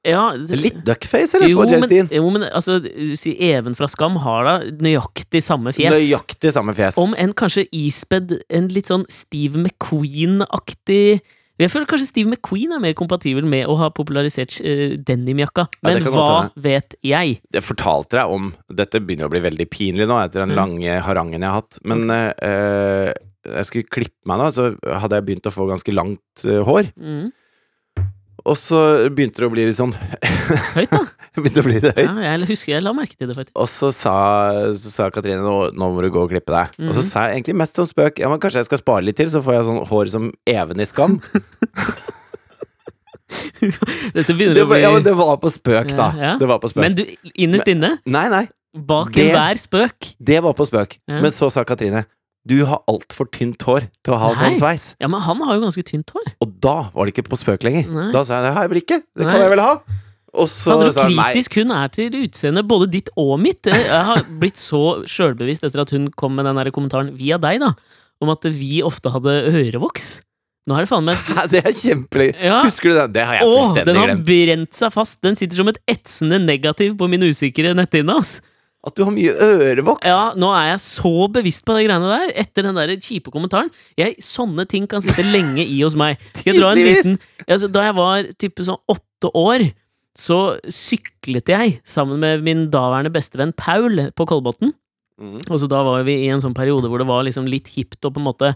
A: Ja,
B: Det er Litt duckface, eller? på
A: jo,
B: James
A: men,
B: Dean.
A: jo, men altså, du sier Even fra Skam har da nøyaktig samme fjes.
B: Nøyaktig samme fjes.
A: Om enn kanskje ispedd en litt sånn Steve McQueen-aktig Jeg føler kanskje Steve McQueen er mer kompatibel med å ha popularisert eh, denimjakka. Men
B: det kan
A: hva
B: godt
A: vet jeg?
B: Jeg fortalte deg om Dette begynner å bli veldig pinlig nå, etter den
A: Mm.
B: lange harangen jeg har hatt. Men eh, eh, jeg skulle klippe meg nå, så hadde jeg begynt å få ganske langt eh, hår.
A: Mm.
B: Og så begynte det å bli litt sånn [LAUGHS]
A: Høyt, da.
B: Begynte å bli litt [LAUGHS] høyt.
A: Ja, jeg husker jeg la merke til det, faktisk.
B: Og så sa, så sa Katrine nå, nå må du gå og klippe deg. Og så
A: Mhm.
B: sa jeg egentlig mest som spøk ja, men kanskje jeg skal spare litt til, så får jeg sånn hår som Even i
A: [LAUGHS]
B: Skam.
A: Dette begynner
B: det,
A: å
B: var,
A: bli
B: ja, men det var på spøk, da.
A: Ja, ja.
B: Det var på spøk.
A: Men du, innerst inne,
B: nei, nei,
A: bak
B: Det-
A: enhver spøk
B: det var på spøk.
A: Ja.
B: Men så sa Katrine du har altfor tynt hår til å
A: Nei.
B: ha sånn sveis.
A: Ja, men han har jo ganske tynt hår.
B: Og da var det ikke på spøk lenger.
A: Nei.
B: Da sa jeg det har jeg vel ikke. Det kan
A: Nei.
B: jeg vel ha. Og så
A: Fader,
B: sa
A: hvor
B: hun nei.
A: kritisk hun er til utseendet, både ditt og mitt. Jeg har blitt så sjølbevisst etter at hun kom med den der kommentaren via deg, da, om at vi ofte hadde ørevoks. Nå er det faen meg
B: Hæ, det er kjempelenge.
A: Ja.
B: Husker du den? Det har jeg
A: Åh, den
B: fullstendig
A: har
B: glemt.
A: brent seg fast! Den sitter som et etsende negativ på min usikre netthinne. ass.
B: At du har mye ørevoks.
A: Ja, nå er jeg så bevisst på de greiene der, etter den der kjipe kommentaren. Jeg, sånne ting kan sitte lenge i hos meg. Skal jeg dra en
B: Tydeligvis.
A: liten altså, Da jeg var type sånn åtte år, så syklet jeg sammen med min daværende bestevenn Paul på Kolbotn.
B: Mm.
A: Og så da var vi i en sånn periode hvor det var liksom litt hipt å på en måte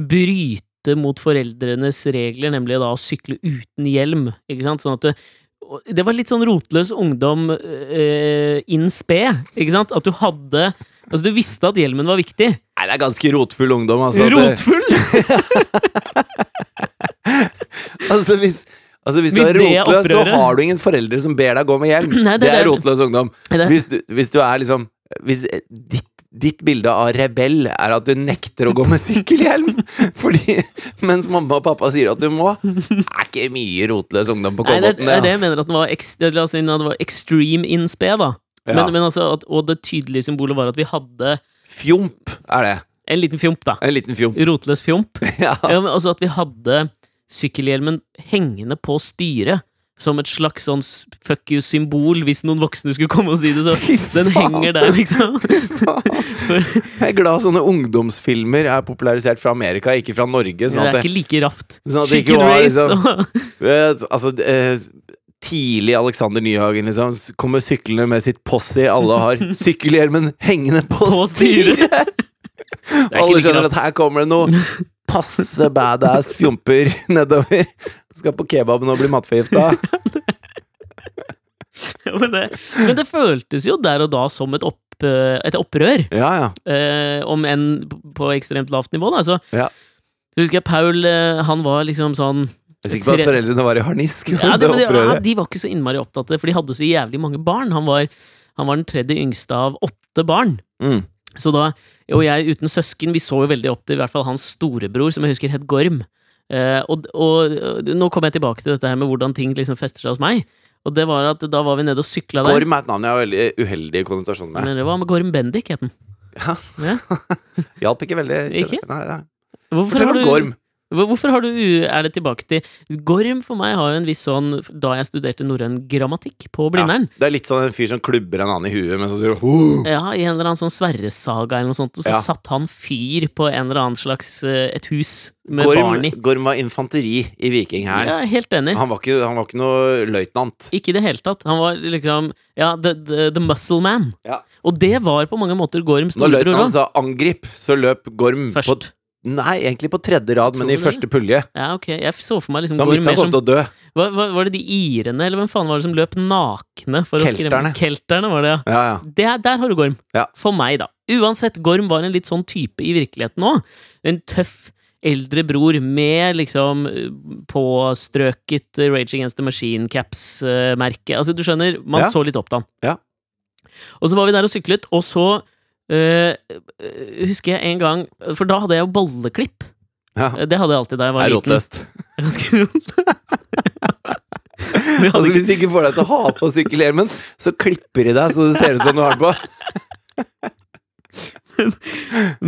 A: bryte mot foreldrenes regler, nemlig da å sykle uten hjelm. Ikke sant? Sånn at det, og det var litt sånn rotløs ungdom eh, in spe, ikke sant? At du hadde Altså, du visste at hjelmen var viktig.
B: Nei, det er ganske rotfull ungdom, altså. Det,
A: Rotfull!
B: altså hvis, altså, hvis, du
A: Hvis
B: er
A: det er
B: rotløs, så
A: opprøret.
B: har du ingen foreldre som ber deg gå med hjelm.
A: [CLEARS THROAT] Nei, det er
B: det, er
A: det.
B: rotløs ungdom.
A: [LAUGHS] Det er-
B: Hvis du, hvis du er liksom Hvis eh, ditt, ditt bilde av rebell er at du nekter å gå med sykkelhjelm [LAUGHS] fordi Mens mamma og pappa sier at du må. Det er ikke mye rotløs ungdom på
A: Nei, det er,
B: Kolbotn.
A: det er det jeg
B: ass.
A: mener at den var, ekst, la oss si den hadde vært extreme in spe, da. Men,
B: Ja.
A: men altså at, og det tydelige symbolet var at vi hadde
B: Fjomp er det.
A: en liten fjomp, da.
B: En liten fjomp.
A: Rotløs fjomp.
B: Ja. [LAUGHS]
A: Ja, men altså at vi hadde sykkelhjelmen hengende på styret. Som et slags sånn s- fuck you-symbol, hvis noen voksne skulle komme og si det. Så
B: [LAUGHS] Fy
A: den
B: faen.
A: henger der,
B: [LAUGHS]
A: liksom. For,
B: Jeg er glad sånne ungdomsfilmer er popularisert fra Amerika, ikke fra Norge.
A: det
B: Sånn
A: er
B: at det,
A: ikke like raft.
B: sånn at det ikke
A: Chicken
B: var,
A: race
B: liksom-
A: og [LAUGHS]
B: eh, altså, eh, tidlig Alexander Nyhagen, liksom. s- Kommer syklende med sitt posse alle
A: [LAUGHS]
B: har sykkelhjelmen hengende på,
A: På styret.
B: [LAUGHS] styret! [LAUGHS]
A: Det er
B: Alle
A: ikke like
B: skjønner
A: raft.
B: at her kommer det noe passe badass fjomper [LAUGHS] nedover. Skal på kebaben og bli
A: [LAUGHS]
B: matforgifta.
A: Men det, men det føltes jo der og da som et, opp, eh, et opprør.
B: Ja, ja.
A: eh, om enn på ekstremt lavt nivå, da. Så,
B: Ja.
A: så husker jeg Paul, eh, han var liksom sånn
B: Jeg er sikker på at foreldrene var i [LAUGHS] harnisk.
A: Ja,
B: det
A: det, men det, ja,
B: opprøret.
A: de var ikke så innmari opptatt av det, for de hadde så jævlig mange barn. Han var, han var den tredje yngste av åtte barn.
B: Mm.
A: Så da, Og jeg uten søsken, vi så jo veldig opp til i hvert fall hans storebror, som jeg husker het Gorm. Eh, og, og, og nå kommer jeg tilbake til dette her med hvordan ting liksom fester seg hos meg. Og det var at da var vi nede og sykla der.
B: Gorm er et navn jeg har veldig uheldig konnotasjon med.
A: Men det var med Gorm Bendik, het den.
B: Ja.
A: Ja.
B: Hjalp ikke veldig. kjenner-
A: Ikke?
B: Nei, nei.
A: Hvorfor
B: Fortell
A: har
B: om
A: du-
B: Gorm.
A: Hvor- Hvorfor har du, er det tilbake til Gorm for meg har jo en viss sånn Da jeg studerte norrøn grammatikk på Blindern,
B: Ja, det er litt sånn en fyr som klubber en annen i huet, men så sier du «Hoo!»
A: ja. i en eller annen sånn Sverresaga eller noe sånt, og så
B: Ja.
A: satt han fyr på en eller annen slags eh, et hus med barn
B: Gorm,
A: i.
B: Gorm var infanteri i
A: Ja,
B: Vikinghæren.
A: helt enig.
B: Han, var ikke- han var ikke noe løytnant.
A: Ikke i det hele tatt. Han var liksom Ja, the, the, the muscle man.
B: Ja.
A: Og det var på mange måter Gorms
B: Når
A: storebror òg.
B: løytnanten sa 'angrip', så løp Gorm altså på
A: Først.
B: Nei, egentlig på tredje rad, men
A: Tror
B: i
A: du det?
B: første pulje.
A: Ja, ok. Jeg så for meg liksom
B: Så han
A: Gorm
B: visste han
A: mer
B: kom
A: som
B: til å dø.
A: var, var, var det de irene, eller hvem faen var det som løp nakne for å skremme
B: Kelterne.
A: Kelterne, var det, ja.
B: Ja, ja.
A: Der, der har du Gorm.
B: Ja.
A: For meg, da. Uansett, Gorm var en litt sånn type i virkeligheten òg. En tøff eldre bror med liksom eh, påstrøket eh, Rage Against the Machine Caps-merke. Altså, du skjønner, man
B: Ja.
A: så litt opp til han.
B: Ja.
A: Og så var vi der og syklet, og så eh, eh, husker jeg en gang For da hadde jeg jo bolleklipp.
B: ja.
A: Eh, Det hadde jeg alltid da jeg
B: Det
A: var
B: er
A: liten.
B: rotløst.
A: [LAUGHS] Ganske rotløst.
B: [LAUGHS]
A: Vi hadde
B: Altså, hvis de ikke får deg til å ha på sykkelhjelmen, så klipper de deg så det ser ut som du har den på.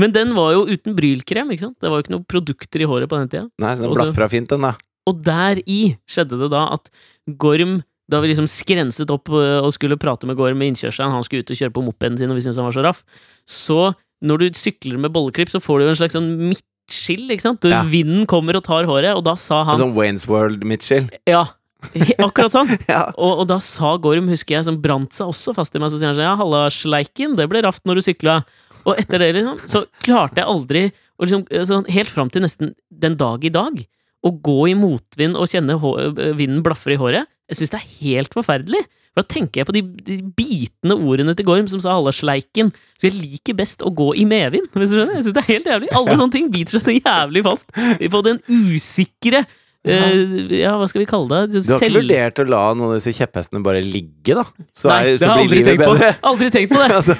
A: Men den var jo uten brylkrem, ikke sant? Det var jo ikke noen produkter i håret på den tida.
B: Nei, så den
A: Og så-
B: blafra fint, den, da.
A: Og deri skjedde det da at Gorm da vi liksom skrenset opp øh, og skulle prate med Gorm i innkjørselen, han skulle ut og kjøre på mopeden sin, og vi syntes han var så raff, så når du sykler med bolleklipp, så får du jo en slags sånn midtskill, ikke sant? Du,
B: Ja.
A: Vinden kommer og tar håret, og da sa
B: En
A: han
B: Sånn Waynes World-Mitchell.
A: Ja, [LAUGHS] akkurat sånn.
B: Ja.
A: Og, og da sa Gorm, husker jeg, som brant seg også fast i meg, så sier han sånn Ja, halla, sleiken, det ble raft når du sykla. Og etter det, liksom, så klarte jeg aldri, og liksom, sånn helt fram til nesten den dag i dag, å gå i motvind og kjenne hå- eh, vinden blaffer i håret. Jeg syns det er helt forferdelig. For da tenker jeg på de, de bitende ordene til Gorm som sa 'halla, sleiken'. Så jeg liker best å gå i medvind. Hvis du skjønner? Jeg synes det er helt jævlig Alle sånne ting biter seg så jævlig fast på den usikre eh, Ja, hva skal vi kalle det?
B: Du har ikke
A: Selv-
B: vurdert å la noen av disse kjepphestene bare ligge, da? Så,
A: Nei,
B: er,
A: det
B: så
A: har jeg
B: blir
A: aldri
B: livet
A: tenkt
B: bedre. [LAUGHS]
A: på. Aldri tenkt på det!
B: Altså,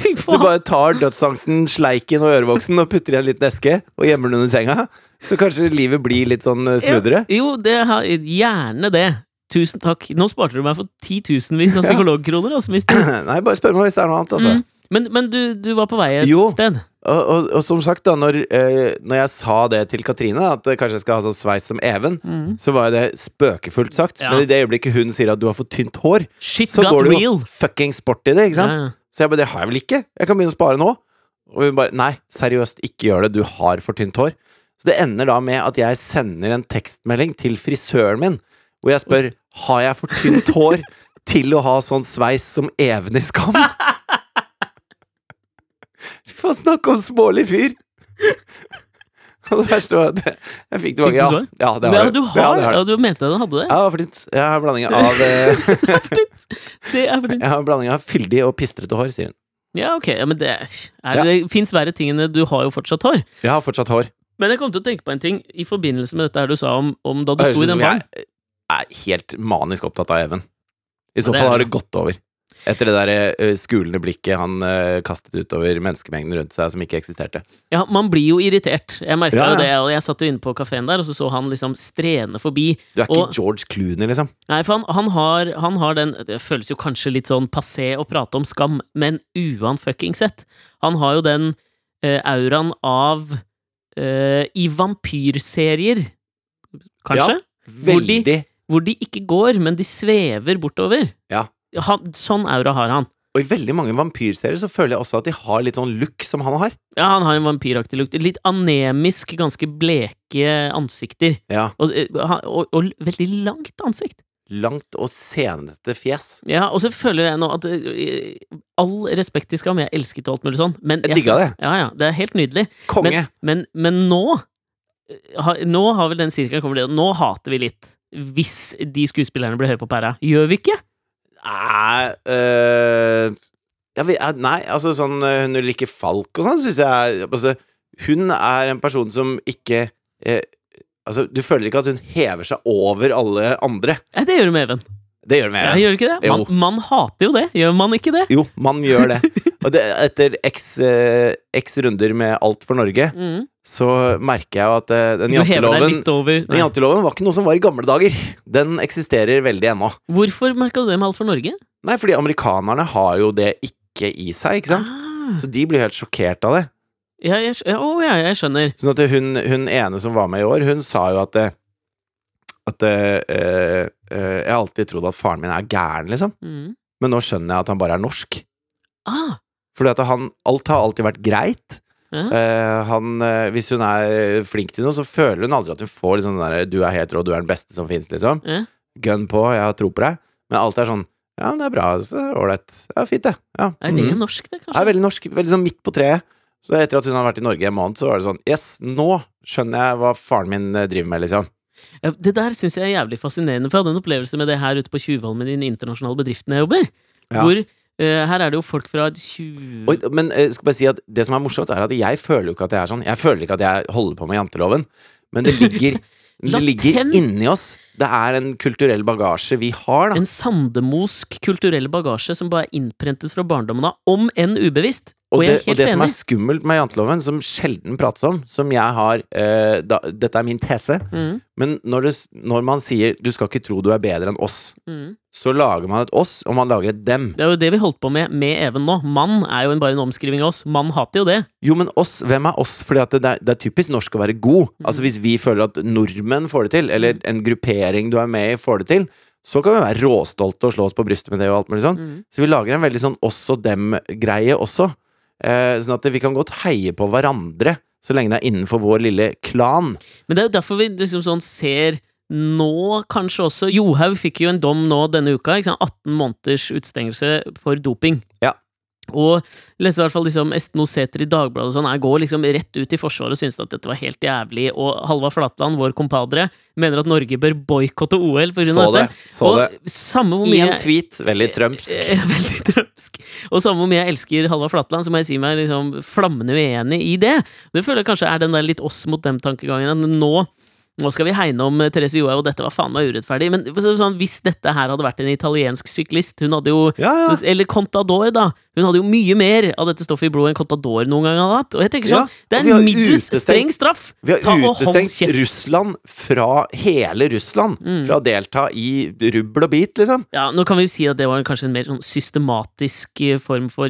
A: Fy
B: du
A: faen!
B: bare tar dødsangsten, sleiken og ørevoksen og putter i en liten eske og gjemmer den under senga. Så kanskje livet blir litt sånn eh, smoothere. [CLEARS THROAT]
A: Jo, det har, gjerne det.
B: [LAUGHS]
A: Tusen takk. Nå sparte du meg for titusenvis av psykologkroner. Altså, mister.
B: Nei, bare spør meg hvis det er noe annet, [CLEARS THROAT] altså.
A: Mm. Men, men du, du var på vei et
B: Jo.
A: sted?
B: Og, og, og som sagt, da, når, eh, når jeg sa det til Katrine, at eh, kanskje jeg skal ha sånn sveis som Even,
A: Mhm.
B: så var jo det spøkefullt sagt.
A: Ja.
B: Men i det øyeblikket hun sier at du har for tynt hår,
A: Shit
B: så
A: got
B: går du jo
A: real!
B: fuckings bort i det. ikke sant?
A: Ja, ja.
B: Så jeg bare, det har jeg vel ikke? Jeg kan begynne å spare nå. Og hun bare, nei, seriøst, ikke gjør det. Du har for tynt hår. Så det ender da med at jeg sender en tekstmelding til frisøren min, hvor jeg spør, har jeg for tynt hår til å ha sånn sveis som Even i Skam? Fy faen, snakk om smålig fyr! Og det verste var at jeg- jeg fikk det
A: Fikk du
B: mange ja,
A: svar?
B: ja, det har
A: Ja,
B: du.
A: du
B: Ja,
A: har
B: det
A: det!
B: har du.
A: Ja, du mente du hadde det?
B: Ja, det var for tynt. Jeg har en blanding av, eh, [LAUGHS]
A: Det er fordi
B: jeg har en blanding av fyldig og pistrete hår, sier hun.
A: Ja, ok. Ja, men det, er,
B: Ja.
A: det fins verre ting enn det. Du har jo fortsatt hår.
B: Jeg har fortsatt hår.
A: Men jeg kom til å tenke på en ting i forbindelse med dette her du sa om, om da du
B: Det
A: sto i
B: høres ut
A: den
B: som
A: baren.
B: jeg er helt manisk opptatt av Even. I så
A: det
B: fall
A: er
B: har
A: det.
B: det gått over. Etter det der eh, skulende blikket han eh, kastet utover menneskemengden rundt seg som ikke eksisterte.
A: Ja, man blir jo irritert. Jeg merka
B: Ja, ja.
A: jo det. Og jeg satt jo inne på kafeen der, og så så han liksom strene forbi.
B: Du er ikke
A: Og-
B: George Clooney, liksom.
A: Nei, for han, han, har, han har den Det føles jo kanskje litt sånn passé å prate om skam, men uanfuckings sett. Han har jo den eh, auraen av eh, I vampyrserier, kanskje? Hvor de-
B: Veldig.
A: Hvor de ikke går, men de svever bortover.
B: Ja.
A: Han, sånn aura har han.
B: Og i veldig mange vampyrserier så føler jeg også at de har litt sånn look som han har.
A: Ja, han har en vampyraktig lukt. Litt anemisk, ganske bleke ansikter.
B: Ja.
A: Og, og, og, og veldig langt ansikt.
B: Langt og senete fjes.
A: Ja, og så føler jeg nå at eh, All respekt til Skam, jeg elsket og alt mulig sånn, men
B: Jeg digga det.
A: Ja, ja, det er helt nydelig.
B: Konge.
A: Men, men nå eh, ha, Nå har vel den sirkelen kommet dit. Nå hater vi litt. Hvis de skuespillerne blir høye på pæra. Gjør vi ikke?
B: Nei øh, jeg vet- jeg- Nei, altså sånn øh, Hun liker Falk og sånn, syns jeg er- altså, Hun er en person som ikke eh, Altså, du føler ikke at hun hever seg over alle andre.
A: Nei, det gjør du med Even.
B: Det gjør hun
A: Ja,
B: med.
A: gjør du ikke det? Man,
B: Jo.
A: man hater jo det. Gjør man ikke det?
B: Jo, man gjør det. Og det, etter x, eh, x runder med Alt for Norge,
A: Mm.
B: så merker jeg jo at eh, den
A: Du hever deg
B: janteloven
A: litt over
B: Den
A: Nei.
B: janteloven var ikke noe som var i gamle dager. Den eksisterer veldig ennå.
A: Hvorfor merka du det med Alt for Norge?
B: Nei, fordi amerikanerne har jo det ikke i seg, ikke sant?
A: Ah,
B: Så de blir jo helt sjokkert av det.
A: ja, jeg, skj- ja, å, ja, jeg skjønner.
B: Sånn at hun, hun ene som var med i år, hun sa jo at eh, At eh, eh, eh, Jeg har alltid trodd at faren min er gæren, liksom.
A: Mm.
B: Men nå skjønner jeg at han bare er norsk.
A: Ah,
B: Fordi at han, alt har alltid vært greit.
A: ja.
B: Eh, han, eh, hvis hun er flink til noe, så føler hun aldri at hun får liksom den der 'du er helt rå, du er den beste som fins', liksom.
A: Ja.
B: Gun på, jeg har tro på deg. Men alt er sånn 'ja, men det er bra, så ålreit'. Ja, fint, det. Ja.
A: Er det
B: mhm.
A: norsk, det,
B: Er
A: kanskje?
B: veldig norsk, veldig sånn midt på treet. Så etter at hun har vært i Norge en måned, så var det sånn Yes, nå skjønner jeg hva faren min eh, driver med, liksom.
A: Mm. Ja, Det der syns jeg er jævlig fascinerende, for jeg hadde en opplevelse med det her ute på Tjuvholmen i den internasjonale bedriften jeg jobber.
B: Ja.
A: Hvor eh, her er det jo folk fra 20
B: Og, men eh, skal bare si at det som er morsomt, er at jeg føler jo ikke at jeg er sånn. Jeg føler ikke at jeg holder på med janteloven, men det ligger, det ligger
A: [LAUGHS] Latent.
B: inni oss. Det er en kulturell bagasje vi har, da.
A: En sandemosk kulturell bagasje som bare er innprentet fra barndommen av, om enn ubevisst. Og,
B: Og det,
A: jeg er
B: og
A: helt
B: det som
A: enig.
B: er skummelt med janteloven, som sjelden prates om, som jeg har eh, da, Dette er min tese,
A: Mm,
B: men når, det, s- når man sier 'du skal ikke tro du er bedre enn oss',
A: mm.
B: så lager man et oss, og man lager et dem.
A: Det er jo det vi holdt på med med Even nå. Mann er jo en, bare en omskriving av oss. Mann hater jo det.
B: Jo, men oss, hvem er oss? Fordi at det, er, det er typisk norsk å være god.
A: Mm.
B: Altså Hvis vi føler at nordmenn får det til, eller en gruppering du er med i får det til, så kan vi være råstolte og slå oss på brystet med det. og alt mulig sånn
A: Mm.
B: Så vi lager en veldig sånn oss og dem-greie også. Eh, sånn at vi kan godt heie på hverandre, så lenge det er innenfor vår lille klan.
A: Men det er jo derfor vi liksom sånn ser nå kanskje også Johaug fikk jo en dom nå denne uka. Ikke sant? 18 måneders utestengelse for doping.
B: Ja.
A: Og leste i hvert fall liksom Esten Oseter i Dagbladet og sånn. Jeg går liksom rett ut i Forsvaret og synes at dette var helt jævlig. Og Halvard Flatland, vår kompadre, mener at Norge bør boikotte OL pga.
B: Så det.
A: dette.
B: Så det.
A: Og samme hvor mye
B: Én tweet. Veldig trømpsk.
A: Eh, [LAUGHS] Veldig trømsk. Og samme om jeg elsker Halvard Flatland, så må jeg si meg liksom flammende uenig i det. Det føler jeg kanskje er den der litt oss mot dem-tankegangen. at Nå, nå skal vi hegne om eh, Therese Johaug, og dette var faen meg urettferdig. Men så- sånn, hvis dette her hadde vært en italiensk syklist Hun hadde jo
B: Ja, ja.
A: så- Eller Contador, da. Hun hadde jo mye mer av dette stoffet i blodet enn Contador noen gang hadde hatt. Og jeg tenker
B: Ja,
A: sånn, Det
B: og
A: er
B: vi har
A: en middels
B: utestengt-
A: streng straff!
B: Vi har
A: Ta og hold
B: utestengt
A: kjeft.
B: Russland fra hele Russland
A: Mm.
B: fra å delta i rubbel og bit, liksom.
A: Ja, nå kan vi jo si at det var kanskje en mer sånn systematisk eh, form for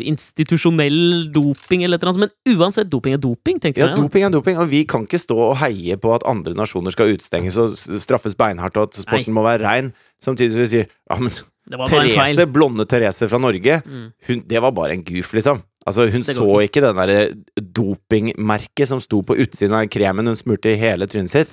A: institusjonell doping, eller et eller annet, men uansett, doping er doping, tenker
B: Ja,
A: jeg. da.
B: doping er doping, og vi kan ikke stå og heie på at andre nasjoner skal utestenges og s- straffes beinhardt, og at sporten må være rein, samtidig som vi sier ja, men
A: Det var bare en feil.
B: Therese, blonde Therese fra Norge,
A: Mm.
B: hun, det var bare en goof, liksom. Altså, hun
A: Det
B: så
A: går
B: ikke den derre dopingmerket som sto på utsiden av kremen hun smurte i hele trynet sitt.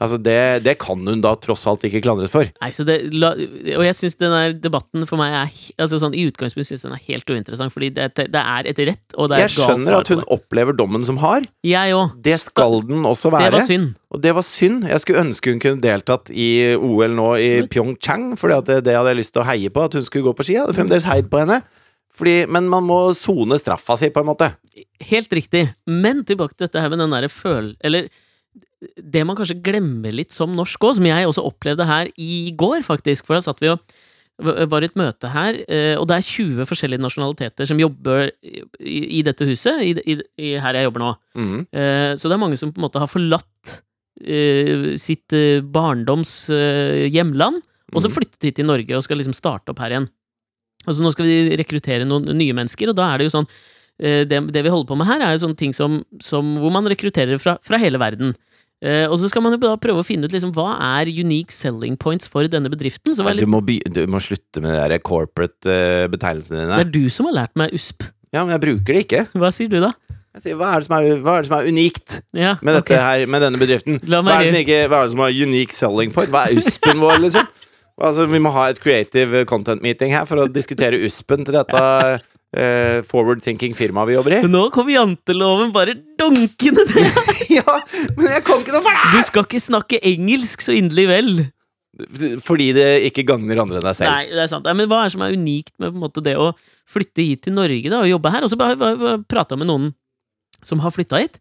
B: Altså, det, det kan hun da tross alt ikke klandres for.
A: Nei, så det, la, og jeg syns denne debatten for meg er he- altså sånn, I utgangspunktet synes jeg den er helt uinteressant, fordi det, det er et rett og det er
B: Jeg
A: et galt
B: skjønner
A: svar.
B: at
A: på
B: hun
A: det.
B: opplever dommen som har.
A: Jeg òg.
B: Det skal den også
A: Det
B: være.
A: var synd.
B: og det var synd. Jeg skulle ønske hun kunne deltatt i OL nå i
A: Absolutt.
B: Pyeongchang, for det, det hadde jeg lyst til å heie på, at hun skulle gå på ski. Jeg hadde fremdeles heid på henne. Fordi, men man må sone straffa si, på en måte.
A: Helt riktig. Men tilbake til dette her med den derre føl... Eller det man kanskje glemmer litt som norsk òg, som jeg også opplevde her i går, faktisk. For da satt vi og var i et møte her, eh, og det er 20 forskjellige nasjonaliteter som jobber i i dette huset, i, i, i her jeg jobber nå.
B: Mhm.
A: Eh, Så det er mange som på en måte har forlatt eh, sitt eh, barndoms eh, hjemland, og så
B: Mhm.
A: flyttet de til Norge og skal liksom starte opp her igjen. Og så nå skal vi rekruttere noen nye mennesker, og da er det jo sånn eh, Det, det vi holder på med her, er jo sånne ting som, som hvor man rekrutterer fra, fra hele verden. Eh, og så skal man jo da prøve å finne ut liksom, hva er unique selling points for denne bedriften. Så
B: Nei,
A: var
B: du,
A: jeg litt,
B: må by, du må slutte med de der corporate eh, betegnelsene
A: det
B: dine.
A: er du som har lært meg USP.
B: Ja, men jeg bruker det ikke.
A: Hva sier du da?
B: Jeg sier, hva, er det som er, hva er det som er unikt
A: Ja,
B: med, dette
A: ok.
B: her, med denne bedriften?
A: La
B: Hva
A: meg
B: er, det som ikke, hva er det som er unique selling point? Hva er USP-en vår, liksom? Altså, vi må ha et creative content meeting her for å diskutere USP-en til dette eh, forward thinking firmaet vi jobber i.
A: [LAUGHS] Nå kom janteloven bare dunkende ned!
B: ja, men jeg kan ikke noe for
A: Du skal ikke snakke engelsk så inderlig vel.
B: det! Fordi det ikke gagner andre enn deg selv.
A: Nei, det er sant. Nei, men hva er det som er unikt med på en måte, det å flytte hit til Norge da, og jobbe her? Og så bare- bare- bare prata med noen som har flytta hit.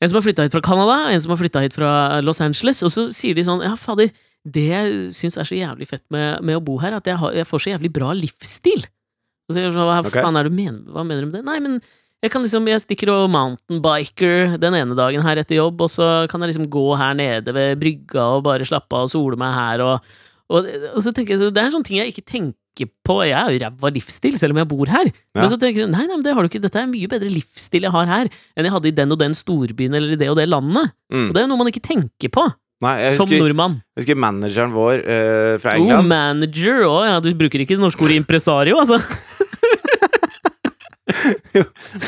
A: En som har flytta hit fra Canada, en som har flytta hit fra eh, Los Angeles. Og så sier de sånn Ja, fader, det jeg syns er så jævlig fett med, med å bo her, at jeg, har, jeg får så jævlig bra livsstil. Og så, er jeg sånn, hva
B: Ok.
A: faen er det du mener, hva mener du med det? Nei, men jeg kan liksom, jeg stikker og mountainbiker den ene dagen her etter jobb, og så kan jeg liksom gå her nede ved brygga og bare slappe av og sole meg her. Og, og, og så tenker jeg, så Det er sånne ting jeg ikke tenker på. Jeg er jo ræva livsstil, selv om jeg bor her.
B: Ja.
A: Men så tenker jeg, nei, nei, men det har du ikke. dette er en mye bedre livsstil jeg har her, enn jeg hadde i den og den storbyen eller i det og det landet.
B: Mm.
A: Og det er jo noe man ikke tenker på,
B: Nei, jeg
A: som
B: husker,
A: nordmann.
B: jeg husker manageren vår eh, fra
A: Oh,
B: England.
A: manager òg, ja. Du bruker ikke det norske ordet impresario, altså.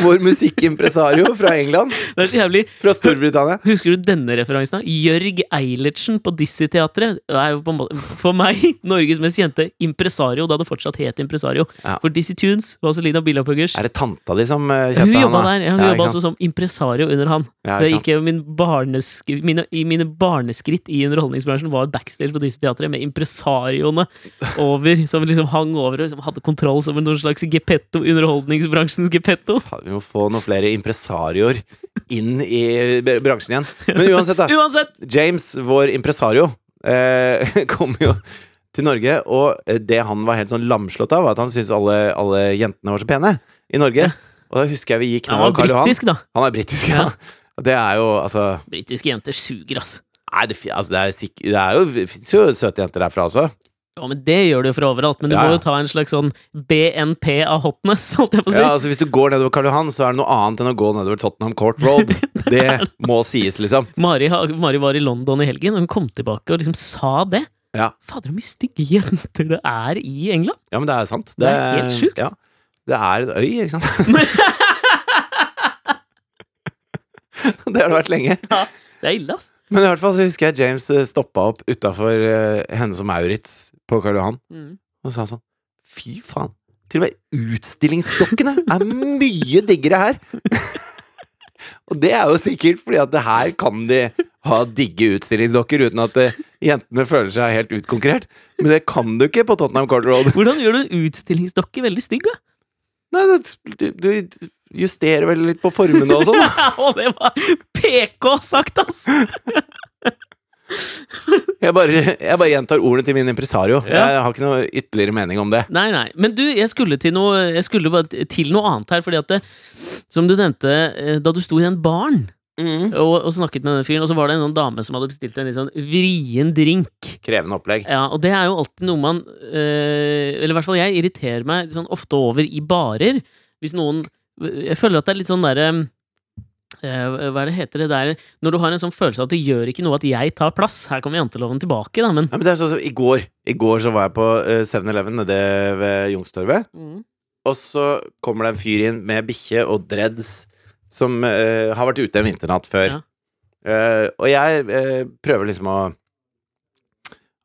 B: Vår musikkimpresario fra England.
A: Det er så jævlig
B: Fra Storbritannia.
A: Husker du denne referansen? da? Jørg Eilertsen på Dizzie-teatret er jo på en måte, for meg Norges mest kjente impresario. Da det fortsatt het impresario.
B: Ja.
A: For Dizzie Tunes var Celina Bilopphøggers.
B: Er det tanta di som eh,
A: Hun
B: kjente han?
A: jobba
B: da?
A: der. Ja, hun
B: Ja,
A: jobba
B: ikke
A: også som impresario under han.
B: Ja,
A: det
B: ikke sant?
A: gikk jo min barnesk mine, I mine barneskritt i underholdningsbransjen var backstage på Dizzie-teatret med impresarioene over, som liksom hang over og som hadde kontroll som en noen slags gepetto, underholdningsbransjens gepetto.
B: Faen, Vi må få noen flere impresarioer inn i b- bransjen igjen. Men
A: [LAUGHS]
B: uansett, da.
A: Uansett!
B: James, vår impresario, eh, [LAUGHS] kom jo til Norge, og eh, det han var helt sånn lamslått av, var at han syntes alle, alle jentene var så pene i Norge. Og da husker jeg vi gikk
A: Han
B: nedover
A: var
B: Karl Johan.
A: britisk, da.
B: Han er britisk, ja.
A: Ja.
B: Og Det er jo altså
A: Britiske jenter suger, ass.
B: Nei, det, fi- altså, det, er, sikk- det er jo, det finnes jo søte jenter derfra også.
A: Ja, men det gjør du jo fra overalt, men du
B: Ja, ja.
A: må jo ta en slags sånn BNP av hotness, [LAUGHS] holdt jeg på å si.
B: Ja, altså Hvis du går nedover Karl Johan, så er det noe annet enn å gå nedover Tottenham Court
A: [LAUGHS]
B: Road. Det må sies, liksom.
A: Mari, ha- Mari var i London i helgen, og hun kom tilbake og liksom sa det.
B: Ja.
A: Fader, så mye stygge [LAUGHS] jenter det er i England!
B: Ja, men det er sant.
A: Det er helt sjukt.
B: Ja. Det er en øy,
A: [LAUGHS]
B: ikke sant? [LAUGHS] det har det vært lenge.
A: Det er ille, ass.
B: Men i hvert fall så husker jeg James eh, stoppa opp utafor eh, henne som Maurits på Karl Johan
A: Mm.
B: og sa sånn Fy faen. Til og med utstillingsdokkene er mye diggere her! [LAUGHS] og det er jo sikkert fordi at det her kan de ha digge utstillingsdokker uten at eh, jentene føler seg helt utkonkurrert. Men det kan du ikke på Tottenham Court Road.
A: Hvordan gjør du en utstillingsdokke veldig stygg, da?
B: Nei, det, du, du justerer vel
A: [LAUGHS]
B: litt på formene og sånn. da.
A: Å, det var PK sagt, ass!
B: Jeg bare, jeg bare gjentar ordene til min impresario.
A: Ja.
B: Jeg har ikke noe ytterligere mening om det.
A: Nei, nei. Men du, jeg skulle til noe, jeg skulle bare t- til noe annet her. Fordi at det, Som du nevnte, eh, da du sto i den baren og, og snakket med den fyren, og så var det en sånn dame som hadde bestilt en litt sånn vrien drink.
B: Krevende opplegg.
A: Ja, Og det er jo alltid noe man eh, Eller i hvert fall jeg irriterer meg sånn ofte over i barer. Hvis noen Jeg føler at det er litt sånn derre eh, Hva er det heter det der Når du har en sånn følelse av at det gjør ikke noe at jeg tar plass. Her kommer janteloven tilbake, da, men
B: Nei, men det er sånn som I går I går så var jeg på eh, 7-Eleven nede ved Youngstorget. Og så kommer det en fyr inn med bikkje og dreads som eh, har vært ute en vinternatt
A: Ja.
B: før. Eh, og jeg eh, prøver liksom å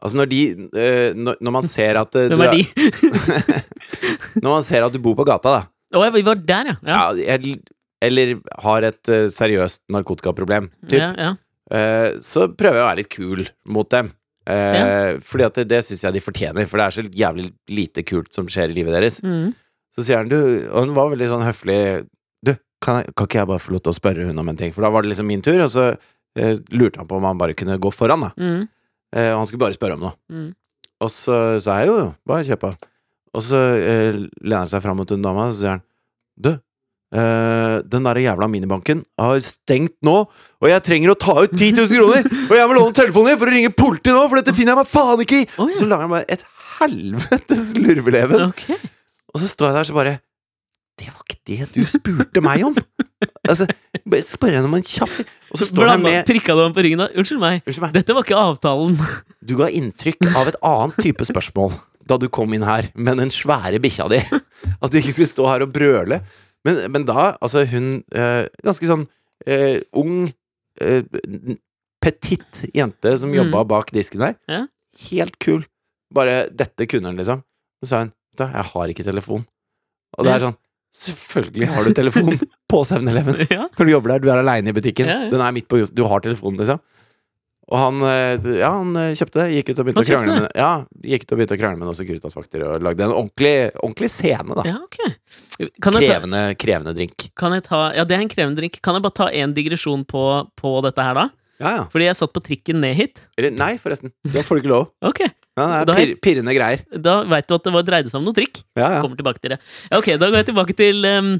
B: Altså, når de eh, når, når man ser at eh,
A: Hvem
B: du
A: er de?
B: Når man ser at du bor på gata, da.
A: Å, jeg- vi var der, ja. Ja,
B: Ja. el- eller har et eh, seriøst narkotikaproblem, typ.
A: ja, ja.
B: Eh, så prøver jeg å være litt kul mot dem. Eh, Fordi at det, det syns jeg de fortjener, for det er så jævlig lite kult som skjer i livet deres.
A: Mm.
B: Så sier han du, og hun var veldig sånn høflig Du, kan, jeg, kan ikke jeg bare få lov til å spørre hun om en ting? For da var det liksom min tur, og så eh, lurte han på om han bare kunne gå foran, da.
A: Mm.
B: Eh, og han skulle bare spørre om noe.
A: Mm.
B: Og så sa jeg jo, jo, bare kjøp av. Og så eh, lener han seg fram mot hun dama, og så sier han Du, eh, den der jævla minibanken har stengt nå, og jeg trenger å ta ut 10 000 kroner! Og jeg må låne telefonen din for å ringe politiet nå, for dette finner jeg meg faen ikke i!
A: Å, ja.
B: Så lager han bare et helvetes lurveleven.
A: Ok.
B: Og så står jeg der så bare Det var ikke det du spurte meg om! Altså, bare spør henne om en kjapp Og så står han
A: Blanda,
B: med
A: prikka du ham på ryggen da? Unnskyld meg,
B: Unnskyld meg.
A: dette var ikke avtalen. [LAUGHS]
B: Du ga inntrykk av et annet type spørsmål da du kom inn her, med den svære bikkja di. At du ikke skulle stå her og brøle. Men, men da, altså hun eh, Ganske sånn eh, ung, eh, n- petit jente som
A: Mm.
B: jobba bak disken der.
A: Ja.
B: Helt kul. Bare 'dette kunne hun', liksom. Så sa hun 'vet du, hva, jeg har ikke telefon'. Og det er sånn Selvfølgelig har du
A: [LAUGHS]
B: telefon på 7-Eleven!
A: ja.
B: Når du jobber der, du er aleine i butikken.
A: Ja, ja.
B: Den er midt på just, Du har telefonen, liksom. Og han, eh, ja, han eh, kjøpte det. Gikk ut og begynte
A: Han
B: å krangle
A: kjøpte
B: med Ja, gikk ut og begynte å krangle med noen Securitas-vakter og lagde en ordentlig, ordentlig scene, da.
A: ja, ok. Kan jeg, ta,
B: Krevende, krevende drink.
A: kan jeg ta Ja, det er en krevende drink. Kan jeg bare ta en digresjon på, på dette her, da?
B: Ja, ja.
A: Fordi jeg satt på trikken ned hit.
B: Eller nei, forresten. Da får du ikke lov.
A: Ok,
B: Ja, det er
A: Da er-
B: pir, pirrende greier.
A: Da veit du at det var dreide seg om noe trikk.
B: Ja, ja.
A: Kommer tilbake til det. Ja, Ok, da går jeg tilbake til em,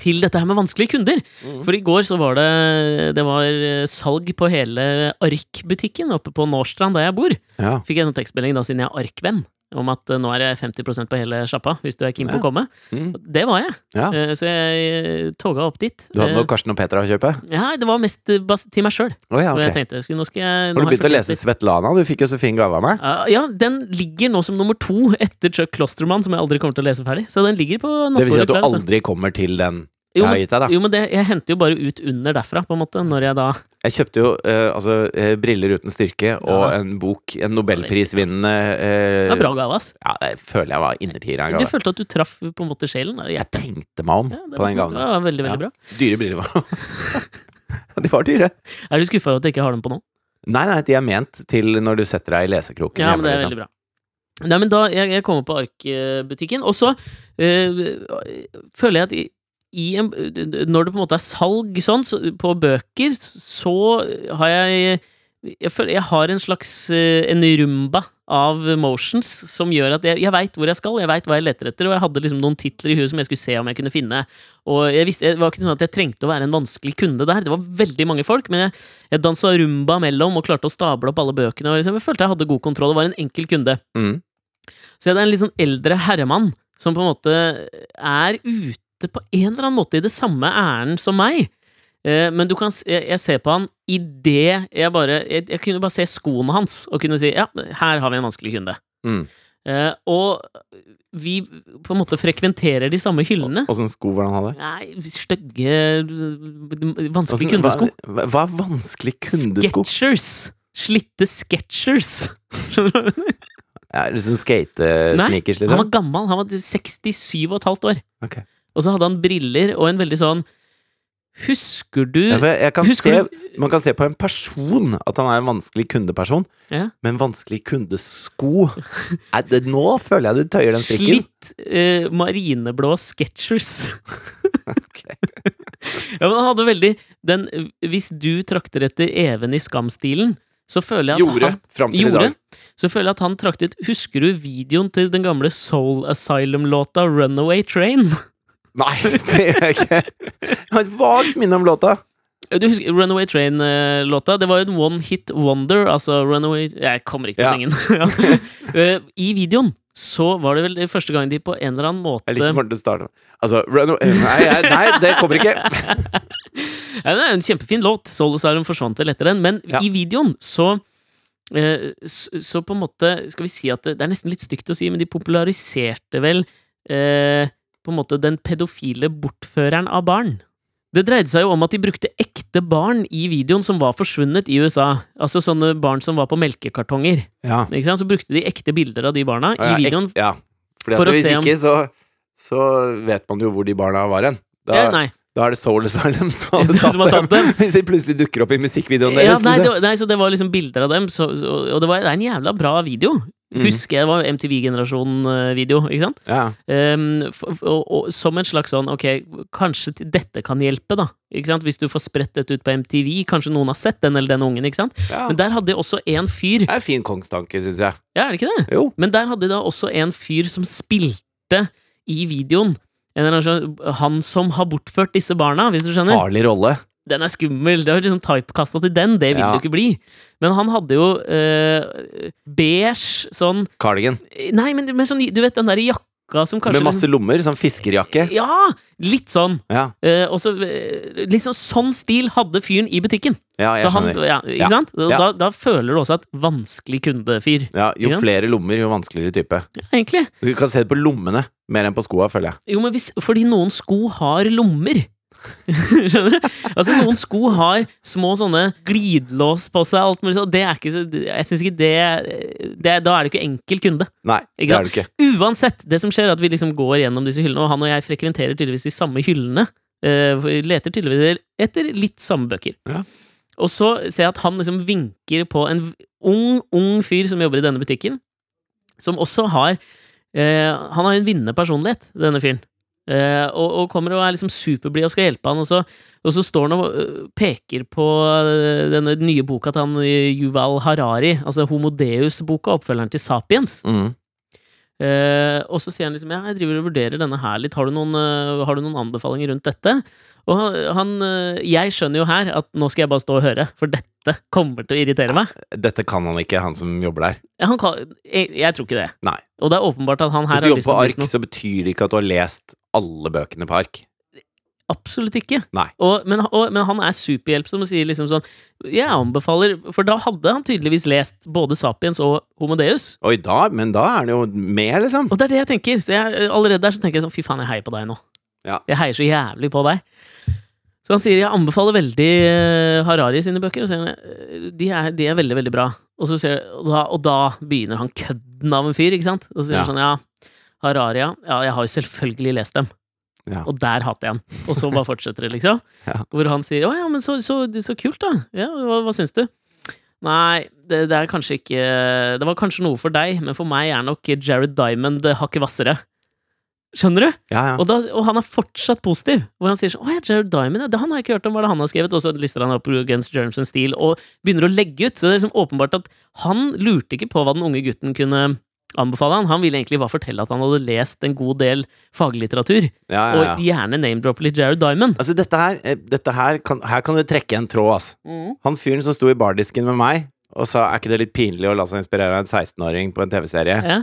A: til dette her med vanskelige kunder.
B: Mm.
A: For i går så var det Det var eh, salg på hele Ark-butikken oppe på Nårstrand, der jeg bor.
B: ja.
A: Fikk jeg en sånn tekstmelding da siden jeg er ark-venn, om at eh, nå er det 50 på hele sjappa, hvis du er keen på
B: Ja.
A: å komme.
B: Mm.
A: Det var jeg,
B: ja.
A: Eh, så jeg eh, toga opp dit.
B: Du hadde
A: Eh,
B: noe Karsten og Petra å kjøpe?
A: Ja, det var mest eh, bas- til meg sjøl.
B: Å ja,
A: Og jeg
B: ok.
A: tenkte skal- nå skal jeg Ah,
B: Har du begynt å lese Svetlana? Du fikk jo så fin gave av meg.
A: Ja, den ligger nå som nummer to etter Chuck Klostermann, som jeg aldri kommer til å lese ferdig. Så den ligger på
B: Det vil si
A: nattbordet.
B: at du
A: klar, så-
B: aldri kommer til den
A: altså. Jo,
B: jeg har
A: men-
B: gitt deg, da.
A: Jo, men det, jeg henter jo bare ut under derfra, på en måte, når jeg da
B: Jeg kjøpte jo eh, altså, eh, briller uten styrke
A: Ja.
B: og en bok, en nobelprisvinnende eh,
A: Det er bra gave, ass.
B: Ja, jeg føler jeg var innertier av en
A: Du
B: gave.
A: følte at du traff på en måte sjelen. da. Jeg-
B: Jeg tenkte meg om
A: Ja, det
B: på
A: var
B: den
A: smart.
B: gaven.
A: Det var veldig, veldig
B: Ja.
A: bra.
B: Dyre briller var det. De var [LAUGHS] dyre.
A: Er du skuffa over at jeg ikke har dem på nå?
B: Nei, nei, de er ment til når du setter deg i lesekroken
A: Ja, men
B: hjemme.
A: det er
B: liksom.
A: veldig bra. Nei, men da, jeg, jeg kommer på Ark-butikken, og så eh, føler jeg at i, i en, når det på en måte er salg sånn, så, på bøker, så har jeg jeg føler jeg har en slags eh, en rumba av motions som gjør at jeg, jeg veit hvor jeg skal, jeg veit hva jeg leter etter, og jeg hadde liksom noen titler i huet som jeg skulle se om jeg kunne finne. Og jeg visste, Det var ikke sånn at jeg trengte å være en vanskelig kunde der, det var veldig mange folk, men jeg, jeg dansa rumba mellom og klarte å stable opp alle bøkene. Og liksom, jeg følte jeg hadde god kontroll og var en enkel kunde.
B: Mm.
A: Så jeg hadde en litt sånn eldre herremann som på en måte er ute på en eller annen måte i det samme ærend som meg. Eh, Men du kan, s- jeg jeg ser på han idet jeg bare jeg, jeg kunne bare se skoene hans og kunne si ja, her har vi en vanskelig kunde.
B: Mm.
A: Eh, og vi på en måte frekventerer de samme hyllene.
B: Åssen sånn sko var det han hadde?
A: Nei, stygge, eh, vanskelige
B: Åssen-
A: kundesko.
B: Hva, hva er vanskelig kundesko?
A: Sketchers! Slitte Sketchers!
B: Ja, er det sånn skate-sneakers,
A: Han var
B: liksom?
A: gammel, han var 67 og et halvt år.
B: Ok.
A: Og så hadde han briller og en veldig sånn Husker du
B: Ja, for jeg, jeg kan
A: Husker
B: se,
A: du
B: man kan se på en person at han er en vanskelig kundeperson,
A: Ja.
B: men vanskelig kundesko er det, Nå føler jeg du tøyer den strikken.
A: Slitt eh, marineblå Sketchers.
B: [LAUGHS] Ok.
A: Ja, men han hadde veldig den eh, Hvis du trakter etter Even i Skam-stilen, så føler jeg at
B: Gjorde
A: han
B: fram til i
A: Gjorde.
B: dag.
A: Så føler jeg at han traktet Husker du videoen til den gamle Soul Asylum-låta Runaway Train?
B: Nei, [LAUGHS] det gjør jeg ikke. Jeg har et vagt minne om låta.
A: Eh, Du husker Runaway Train-låta? Det var jo en one hit wonder. Altså Runaway Jeg kommer ikke til
B: Ja.
A: å synge den. [LAUGHS] Ja. Eh, I videoen så var det vel første gang de på en eller annen måte
B: Jeg likte Morten til å starte med. Altså, run away. Nei, jeg- nei, det kommer ikke.
A: Ja, det er en kjempefin låt. Soul Asylum forsvant vel etter den. Men
B: Ja.
A: i videoen så eh, s- Så på en måte Skal vi si at det, det er nesten litt stygt å si, men de populariserte vel eh, på en måte den pedofile bortføreren av barn. Det dreide seg jo om at de brukte ekte barn i videoen som var forsvunnet i USA. Altså sånne barn som var på melkekartonger.
B: Ja.
A: Ikke sant? Så brukte de ekte bilder av de barna
B: Ja,
A: i videoen.
B: ek- Ja. Fordi
A: For
B: at
A: å
B: hvis
A: se om-
B: ikke, så, så vet man jo hvor de barna var hen. Da,
A: Ja, nei.
B: da er det Soul
A: [LAUGHS]
B: Asylum som hadde
A: Som har
B: tatt
A: tatt
B: dem. Hvis de plutselig dukker opp i musikkvideoen deres.
A: Ja, nei, det
B: liksom.
A: var, nei, så det var liksom bilder av dem, så, så, og det, var, det er en jævla bra video.
B: Mm.
A: Husker jeg det var MTV-generasjon-video, ikke sant?
B: Ja.
A: Ehm, f- f- og, og, som en slags sånn, ok, kanskje til- dette kan hjelpe, da. Ikke sant? Hvis du får spredt dette ut på MTV, kanskje noen har sett den eller den ungen, ikke sant?
B: ja.
A: Men
B: Det
A: der hadde de også en fyr
B: er en fin kongstanke, syns jeg.
A: Ja, er det ikke det?
B: Jo.
A: Men der hadde de da også en fyr som spilte i videoen. En eller annen sånn- Han som har bortført disse barna, hvis du skjønner?
B: Farlig rolle.
A: den er skummel. Det er liksom typekasta til den, det vil du
B: Ja.
A: ikke bli. Men han hadde jo eh, beige sånn
B: Cardigan.
A: Nei, men, men sånn, du vet den der jakka som kanskje
B: Med masse lommer. Sånn fiskerjakke.
A: Ja! Litt sånn.
B: Ja,
A: Eh, og så eh, liksom sånn stil hadde fyren i butikken.
B: ja jeg
A: så han,
B: skjønner.
A: ja, ikke
B: Ja.
A: sant? Og
B: Ja.
A: Da, da føler du også at vanskelig kundefyr,
B: Ja, jo
A: Ikke sant?
B: flere lommer, jo vanskeligere type.
A: Ja, egentlig.
B: Du kan se det på lommene mer enn på skoa, føler jeg.
A: Jo, men hvis, fordi noen sko har lommer. [LAUGHS] Skjønner du? Altså Noen sko har små sånne glidelås på seg, alt mulig sånt. Det er ikke så Jeg synes ikke det, det Da er du ikke enkel kunde.
B: Nei,
A: Ikke
B: det er
A: sant?
B: du ikke.
A: Uansett, det som skjer er at vi liksom går gjennom disse hyllene, og han og jeg frekventerer tydeligvis de samme hyllene. eh, leter tydeligvis etter litt samme bøker.
B: Ja.
A: Og så ser jeg at han liksom vinker på en ung, ung fyr som jobber i denne butikken, som også har eh, Han har en vinnende personlighet, denne fyren. Eh, og, og kommer og er liksom superblid og skal hjelpe han, og så, og så står han og eh, peker på eh, denne nye boka til han eh, Yuval Harari, altså Homo Deus-boka, oppfølgeren til Sapiens.
B: Mm.
A: Eh, og så sier han liksom Ja, jeg driver og vurderer denne her litt. Har du noen, eh, har du noen anbefalinger rundt dette? Og han, han eh, Jeg skjønner jo her at nå skal jeg bare stå og høre, for dette kommer til å irritere meg.
B: Dette kan han ikke, han som jobber der.
A: Han kan, jeg, jeg tror ikke det.
B: Nei.
A: Og det er åpenbart at han her
B: Hvis du
A: har liksom lyst til å bli
B: jobber på ark, så betyr det ikke at du har lest alle bøkene på ark.
A: Absolutt ikke.
B: Nei.
A: Og, men, og, men han er superhjelpsom og sier liksom sånn Jeg anbefaler For da hadde han tydeligvis lest både Sapiens og Homodeus.
B: Oi, da, men da er han jo med, liksom.
A: Og det er det jeg tenker. Så jeg, allerede der så tenker jeg sånn Fy faen, jeg heier på deg nå.
B: Ja.
A: Jeg heier så jævlig på deg. Så han sier jeg anbefaler veldig eh, Harari sine bøker. Og sier, han, eh, de, er, de er veldig, veldig bra. Og, så sier, og, da, og da begynner han kødden av en fyr, ikke sant? Og så sier han sånn, ja, Harari, ja. ja. Jeg har jo selvfølgelig lest dem.
B: Ja.
A: Og der hater jeg han. Og så bare fortsetter det, liksom.
B: [LAUGHS] Ja.
A: Hvor han sier å ja, men så, så, så kult, da. Ja, hva, hva syns du? Nei, det, det er kanskje ikke Det var kanskje noe for deg, men for meg er nok Jared Diamond hakket hvassere. Skjønner du?
B: Ja, ja.
A: Og, da, og han er fortsatt positiv. Hvor han sier sånn Å ja, Jared Diamond, ja, det han har jeg ikke hørt om, hva er det han har skrevet? Og så lister han opp Against Germs and Steel og begynner å legge ut. Så det er liksom åpenbart at han lurte ikke på hva den unge gutten kunne anbefale han. Han ville egentlig bare fortelle at han hadde lest en god del faglitteratur.
B: ja, ja, ja.
A: Og gjerne name-dropper litt Jared Diamond.
B: Altså, dette her, eh, dette her, kan, her kan du trekke en tråd, ass. Han fyren som sto i bardisken med meg og sa er ikke det litt pinlig å la seg inspirere av en 16-åring på en TV-serie,
A: Ja.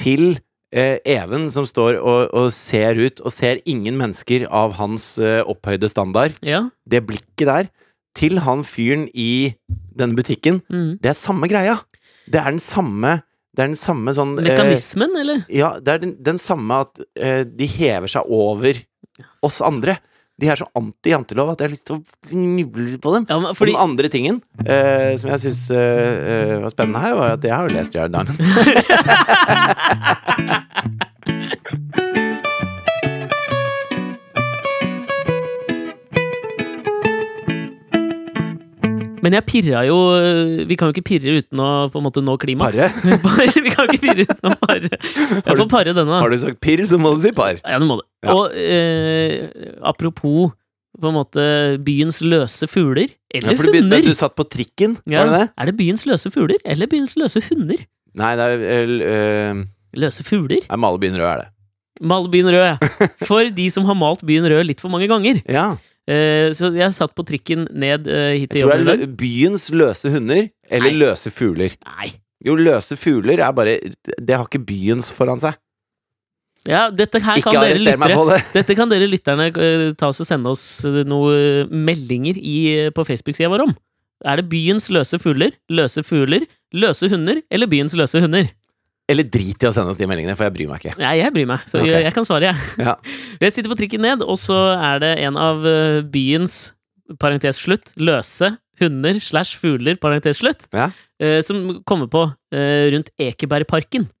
B: til eh, Even som står og, og ser ut og ser ingen mennesker av hans eh, opphøyde standard,
A: ja.
B: det blikket der, til han fyren i denne butikken,
A: Mm.
B: det er samme greia. Det er den samme, det er den samme sånn eh,
A: Mekanismen, eller?
B: Ja, det er den, den samme at eh, de hever seg over oss andre. De er så anti-jantelov at jeg har lyst til å knuble på dem.
A: Ja, men
B: For
A: fordi
B: den andre tingen eh, som jeg syns var spennende her, var at jeg har jo lest
A: [LAUGHS]
B: Jared Diamond.
A: Men jeg pirra jo Vi kan jo ikke pirre uten å på en måte nå klimaks.
B: Parre.
A: [LAUGHS] vi kan ikke pirre uten å pare. Jeg
B: du-
A: får pare denne.
B: Har du sagt pirr, så må du si par.
A: Ja, det må du.
B: Ja.
A: Og eh, apropos på en måte byens løse fugler. eller
B: Ja, for du, begynte,
A: hunder.
B: du satt på trikken,
A: Ja.
B: var det det?
A: Er det byens løse fugler eller byens løse hunder?
B: Nei, det er vel, eh,
A: Løse fugler?
B: Nei, male byen rød er det.
A: Mal byen rød,
B: [LAUGHS]
A: ja. For de som har malt byen rød litt for mange ganger.
B: Ja.
A: Eh, så jeg satt på trikken ned eh, hit
B: Jeg
A: til
B: tror det
A: jobben.
B: er
A: i dag.
B: lø byens løse hunder eller
A: Nei.
B: løse fugler.
A: Nei.
B: Jo, løse fugler er bare Det har ikke byens foran seg.
A: Ja, dette her
B: Ikke
A: kan dere
B: arrester meg
A: lyttere
B: på det.
A: Dette kan dere lytterne eh, ta oss og sende oss eh, noen meldinger i, eh, på Facebook-sida vår om. Er det byens løse fugler, løse fugler, løse hunder eller byens løse hunder?
B: Eller drit i å sende oss de meldingene, for jeg bryr meg ikke.
A: Nei, jeg bryr meg, så
B: Ok.
A: jeg, jeg kan svare, jeg. [LAUGHS]
B: Ja.
A: Jeg sitter på trikken ned, og så er det en av eh, byens parentes slutt, løse hunder slash fugler parentes slutt,
B: Ja.
A: eh, som kommer på eh, rundt Ekebergparken. [LAUGHS]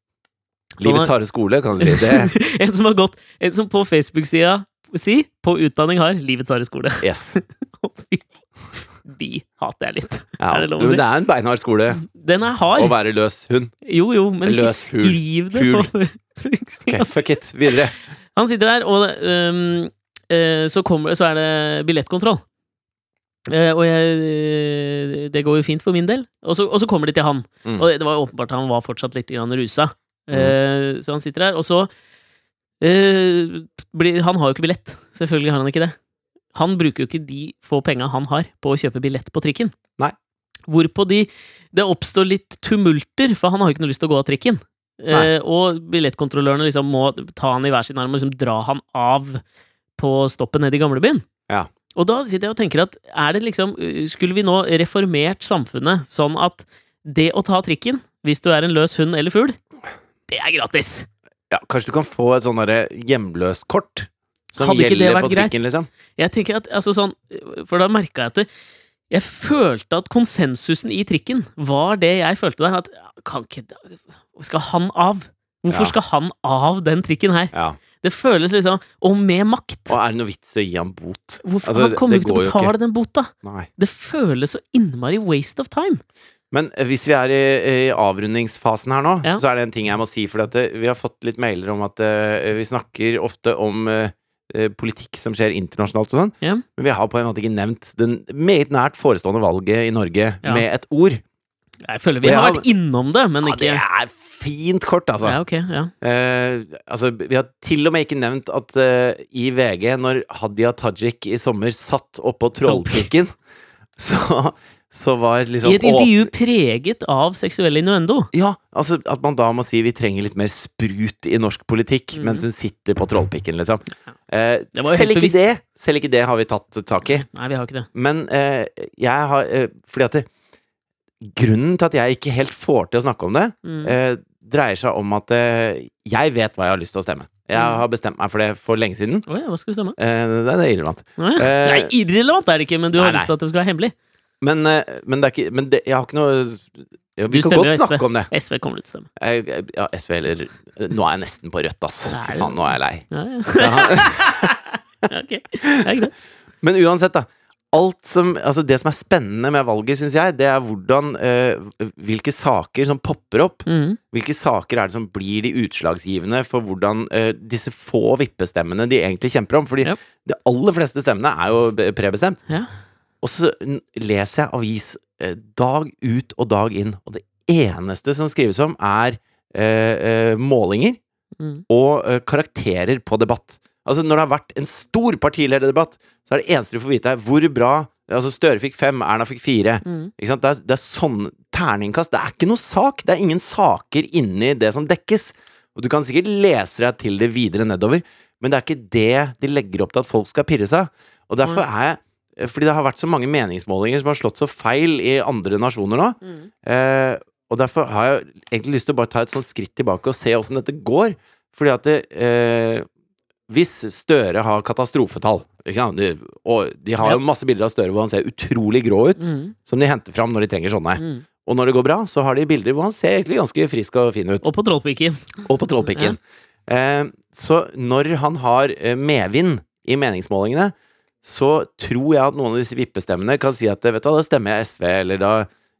A: Så han-
B: Livets harde skole, kan du si. Det.
A: [LAUGHS] en som har gått, en som på Facebook-sida si, på utdanning har livets harde skole.
B: Yes.
A: [LAUGHS] Å, fy. De hater jeg litt.
B: Ja.
A: Er det
B: Du,
A: lov å si?
B: men det er en beinhard skole
A: Den er
B: å
A: hard.
B: være løs hund.
A: Jo, jo, men ikke
B: Løs fugl.
A: skriv det. [LAUGHS]
B: Fugl.
A: på Facebook-siden.
B: Ok,
A: [LAUGHS]
B: fuck it. Videre.
A: Han sitter der, og øhm, øh, så, kommer, så er det billettkontroll. Eh, og jeg, øh, det går jo fint for min del. Og så, og så kommer de til han.
B: Mm.
A: Og det, det var jo åpenbart at han var fortsatt litt grann rusa. Eh, Så han sitter der, og så eh, blir, Han har jo ikke billett. Selvfølgelig har han ikke det. Han bruker jo ikke de få penga han har, på å kjøpe billett på trikken.
B: Nei.
A: Hvorpå de Det oppstår litt tumulter, for han har jo ikke noe lyst til å gå av trikken.
B: Nei.
A: Eh, og billettkontrollørene liksom må ta han i hver sin arm og liksom dra han av på stoppet nede i gamlebyen.
B: Ja.
A: Og da sitter jeg og tenker at er det liksom Skulle vi nå reformert samfunnet sånn at det å ta trikken, hvis du er en løs hund eller fugl, det er gratis!
B: Ja, kanskje du kan få et sånn derre hjemløst kort? Som
A: Hadde ikke det
B: gjelder
A: vært
B: på trikken, liksom?
A: Jeg tenker at, altså sånn, For da merka jeg at det, jeg følte at konsensusen i trikken var det jeg følte der. At ja, kan ikke Skal han av? Hvorfor
B: Ja.
A: skal han av den trikken her?
B: Ja.
A: Det føles liksom Og med makt!
B: Og er det noe vits i å gi han bot?
A: Hvorfor,
B: altså,
A: han kommer jo
B: det
A: ikke til å
B: går jo ikke.
A: betale den bota!
B: Nei.
A: Det føles så innmari waste of time.
B: Men eh, hvis vi er i, i avrundingsfasen her nå,
A: Ja.
B: så er det en ting jeg må si. For at eh, vi har fått litt mailer om at eh, vi snakker ofte om eh, eh, politikk som skjer internasjonalt og sånn.
A: Ja.
B: Men vi har på en måte ikke nevnt den meget nært forestående valget i Norge
A: Ja.
B: med et ord.
A: Jeg føler vi
B: Og jeg
A: har
B: har-
A: vært innom det, men
B: Ja,
A: ikke
B: det
A: Ja,
B: er fint kort, altså.
A: ok, ja.
B: Eh, altså. Vi har til og med ikke nevnt at eh, i VG, når Hadia Tajik i sommer satt oppå trollpikken, [LAUGHS] så, så var liksom
A: I et intervju preget av seksuell innuendo.
B: Ja, altså at man da må si vi trenger litt mer sprut i norsk politikk
A: Mhm.
B: mens hun sitter på trollpikken, liksom. Eh,
A: Det var jo
B: selv,
A: helt
B: ikke
A: bevisst.
B: det, selv ikke det har vi tatt tak i.
A: Nei, vi har ikke det.
B: Men eh, jeg har eh, Fordi at det, grunnen til at jeg ikke helt får til å snakke om det,
A: Mm.
B: eh, dreier seg om at eh, jeg vet hva jeg har lyst til å stemme. Jeg
A: Mm.
B: har bestemt meg for det for lenge siden.
A: Å ja, hva skal vi stemme?
B: Eh, det er irrelevant.
A: Nei,
B: Eh,
A: nei, irrelevant er det ikke, men du har
B: nei, nei.
A: lyst til at det skal være hemmelig.
B: Men, eh, men det er ikke Men det, jeg har ikke noe ja,
A: Du
B: Vi kan
A: stemmer
B: godt
A: jo SV.
B: snakke om det.
A: SV kommer du til å stemme.
B: Jeg, jeg, ja, SV eller eh, Nå er jeg nesten på rødt, ass.
A: Nei.
B: Fy faen, nå er jeg lei.
A: Ja,
B: [LAUGHS]
A: ja.
B: Ja.
A: ok, det er greit.
B: Men uansett, da. Alt som, altså det som er spennende med valget, syns jeg, det er hvordan eh, Hvilke saker som popper opp.
A: Mm.
B: Hvilke saker er det som blir de utslagsgivende for hvordan eh, disse få vippestemmene de egentlig kjemper om? Fordi
A: Ja.
B: de aller fleste stemmene er jo be- prebestemt.
A: Ja.
B: Og så n- leser jeg avis eh, dag ut og dag inn, og det eneste som skrives om, er eh, eh, målinger
A: Mm.
B: og eh, karakterer på debatt. Altså Når det har vært en stor partilederdebatt, så er det eneste du får vite, er hvor bra Altså Støre fikk fem, Erna fikk fire.
A: Mm.
B: Ikke sant? Det, er, det er sånn terningkast. Det er ikke noe sak. Det er ingen saker inni det som dekkes. Og du kan sikkert lese deg til det videre nedover, men det er ikke det de legger opp til at folk skal pirre seg. Og derfor er jeg fordi det har vært så mange meningsmålinger som har slått så feil i andre nasjoner nå.
A: Mm.
B: Eh, og derfor har jeg egentlig lyst til å bare ta et sånt skritt tilbake og se åssen dette går. Fordi at det, eh, hvis Støre har katastrofetall ikke sant? De, Og de har
A: Ja.
B: jo masse bilder av Støre hvor han ser utrolig grå ut,
A: Mm.
B: som de henter fram når de trenger sånne.
A: Mm.
B: Og når det går bra, så har de bilder hvor han ser egentlig ganske frisk og fin ut.
A: Og på Trollpiken.
B: Og på trollpikken. Eh, så når han har eh, medvind i meningsmålingene, så tror jeg at noen av disse vippestemmene kan si at vet du hva, da stemmer jeg SV, eller da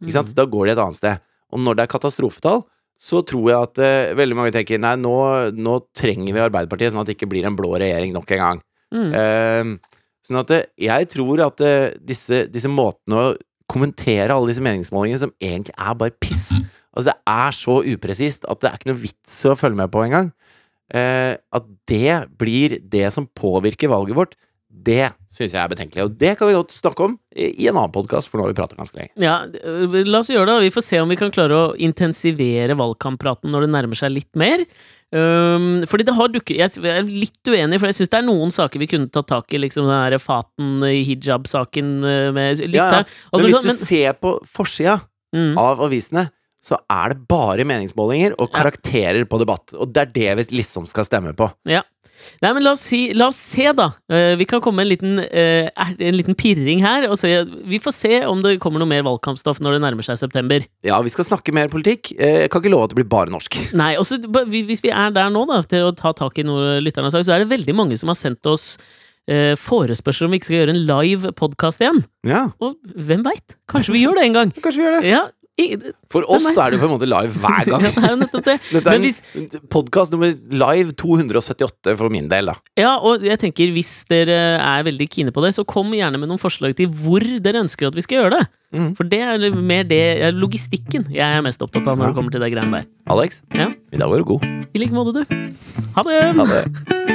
B: ikke
A: Mm.
B: sant? Da går de et annet sted. Og når det er katastrofetall, så tror jeg at eh, veldig mange tenker nei, nå, nå trenger vi Arbeiderpartiet, sånn at det ikke blir en blå regjering nok en gang.
A: Mm.
B: Eh, Sånn at eh, jeg tror at eh, disse, disse måtene å kommentere alle disse meningsmålingene som egentlig er bare piss Altså, det er så upresist at det er ikke noe vits i å følge med på engang. Eh, at det blir det som påvirker valget vårt, det syns jeg er betenkelig. Og det kan vi godt snakke om i, i en annen podkast, for nå har vi pratet ganske lenge.
A: Ja, øh, la oss gjøre det. og Vi får se om vi kan klare å intensivere valgkamppraten når det nærmer seg litt mer. Um, fordi det har dukket Jeg er litt uenig, for jeg syns det er noen saker vi kunne tatt tak i. Liksom den her Faten øh, hijab-saken øh, med
B: Ja, ja.
A: lista. Og
B: Men
A: noe
B: hvis
A: sånt,
B: du ser på forsida
A: men- mm.
B: av avisene, så er det bare meningsmålinger og
A: Ja.
B: karakterer på debatt. Og det er det vi liksom skal stemme på.
A: Nei, men la oss, si, la oss se, da. Eh, vi kan komme med en liten, eh, er- en liten pirring her. Og se, vi får se om det kommer noe mer valgkampstoff når det nærmer seg september.
B: Ja, vi skal snakke mer politikk. Eh, Jeg kan ikke love at det blir bare norsk.
A: Nei, og så ba- vi- Hvis vi er der nå, da, til å ta tak i noe lytterne har sagt, så er det veldig mange som har sendt oss eh, forespørsel om vi ikke skal gjøre en live podkast igjen.
B: Ja,
A: Og hvem veit? Kanskje vi gjør det en gang.
B: kanskje vi gjør det.
A: Ja, i,
B: For oss
A: Hvem vet?
B: er det på en måte live hver
A: ja,
B: [LAUGHS] gang.
A: det er jo nettopp det.
B: Dette er
A: Men
B: en podkast nummer live 278 for min del, da.
A: Ja, og jeg tenker hvis dere er veldig kine på det, så kom gjerne med noen forslag til hvor dere ønsker at vi skal gjøre det.
B: Mhm.
A: For det er mer det er logistikken jeg er mest opptatt av når
B: Ja.
A: det kommer til de greiene der.
B: Alex,
A: Ja.
B: i dag var du god.
A: I like måte, du. Ha det!
B: Ha det.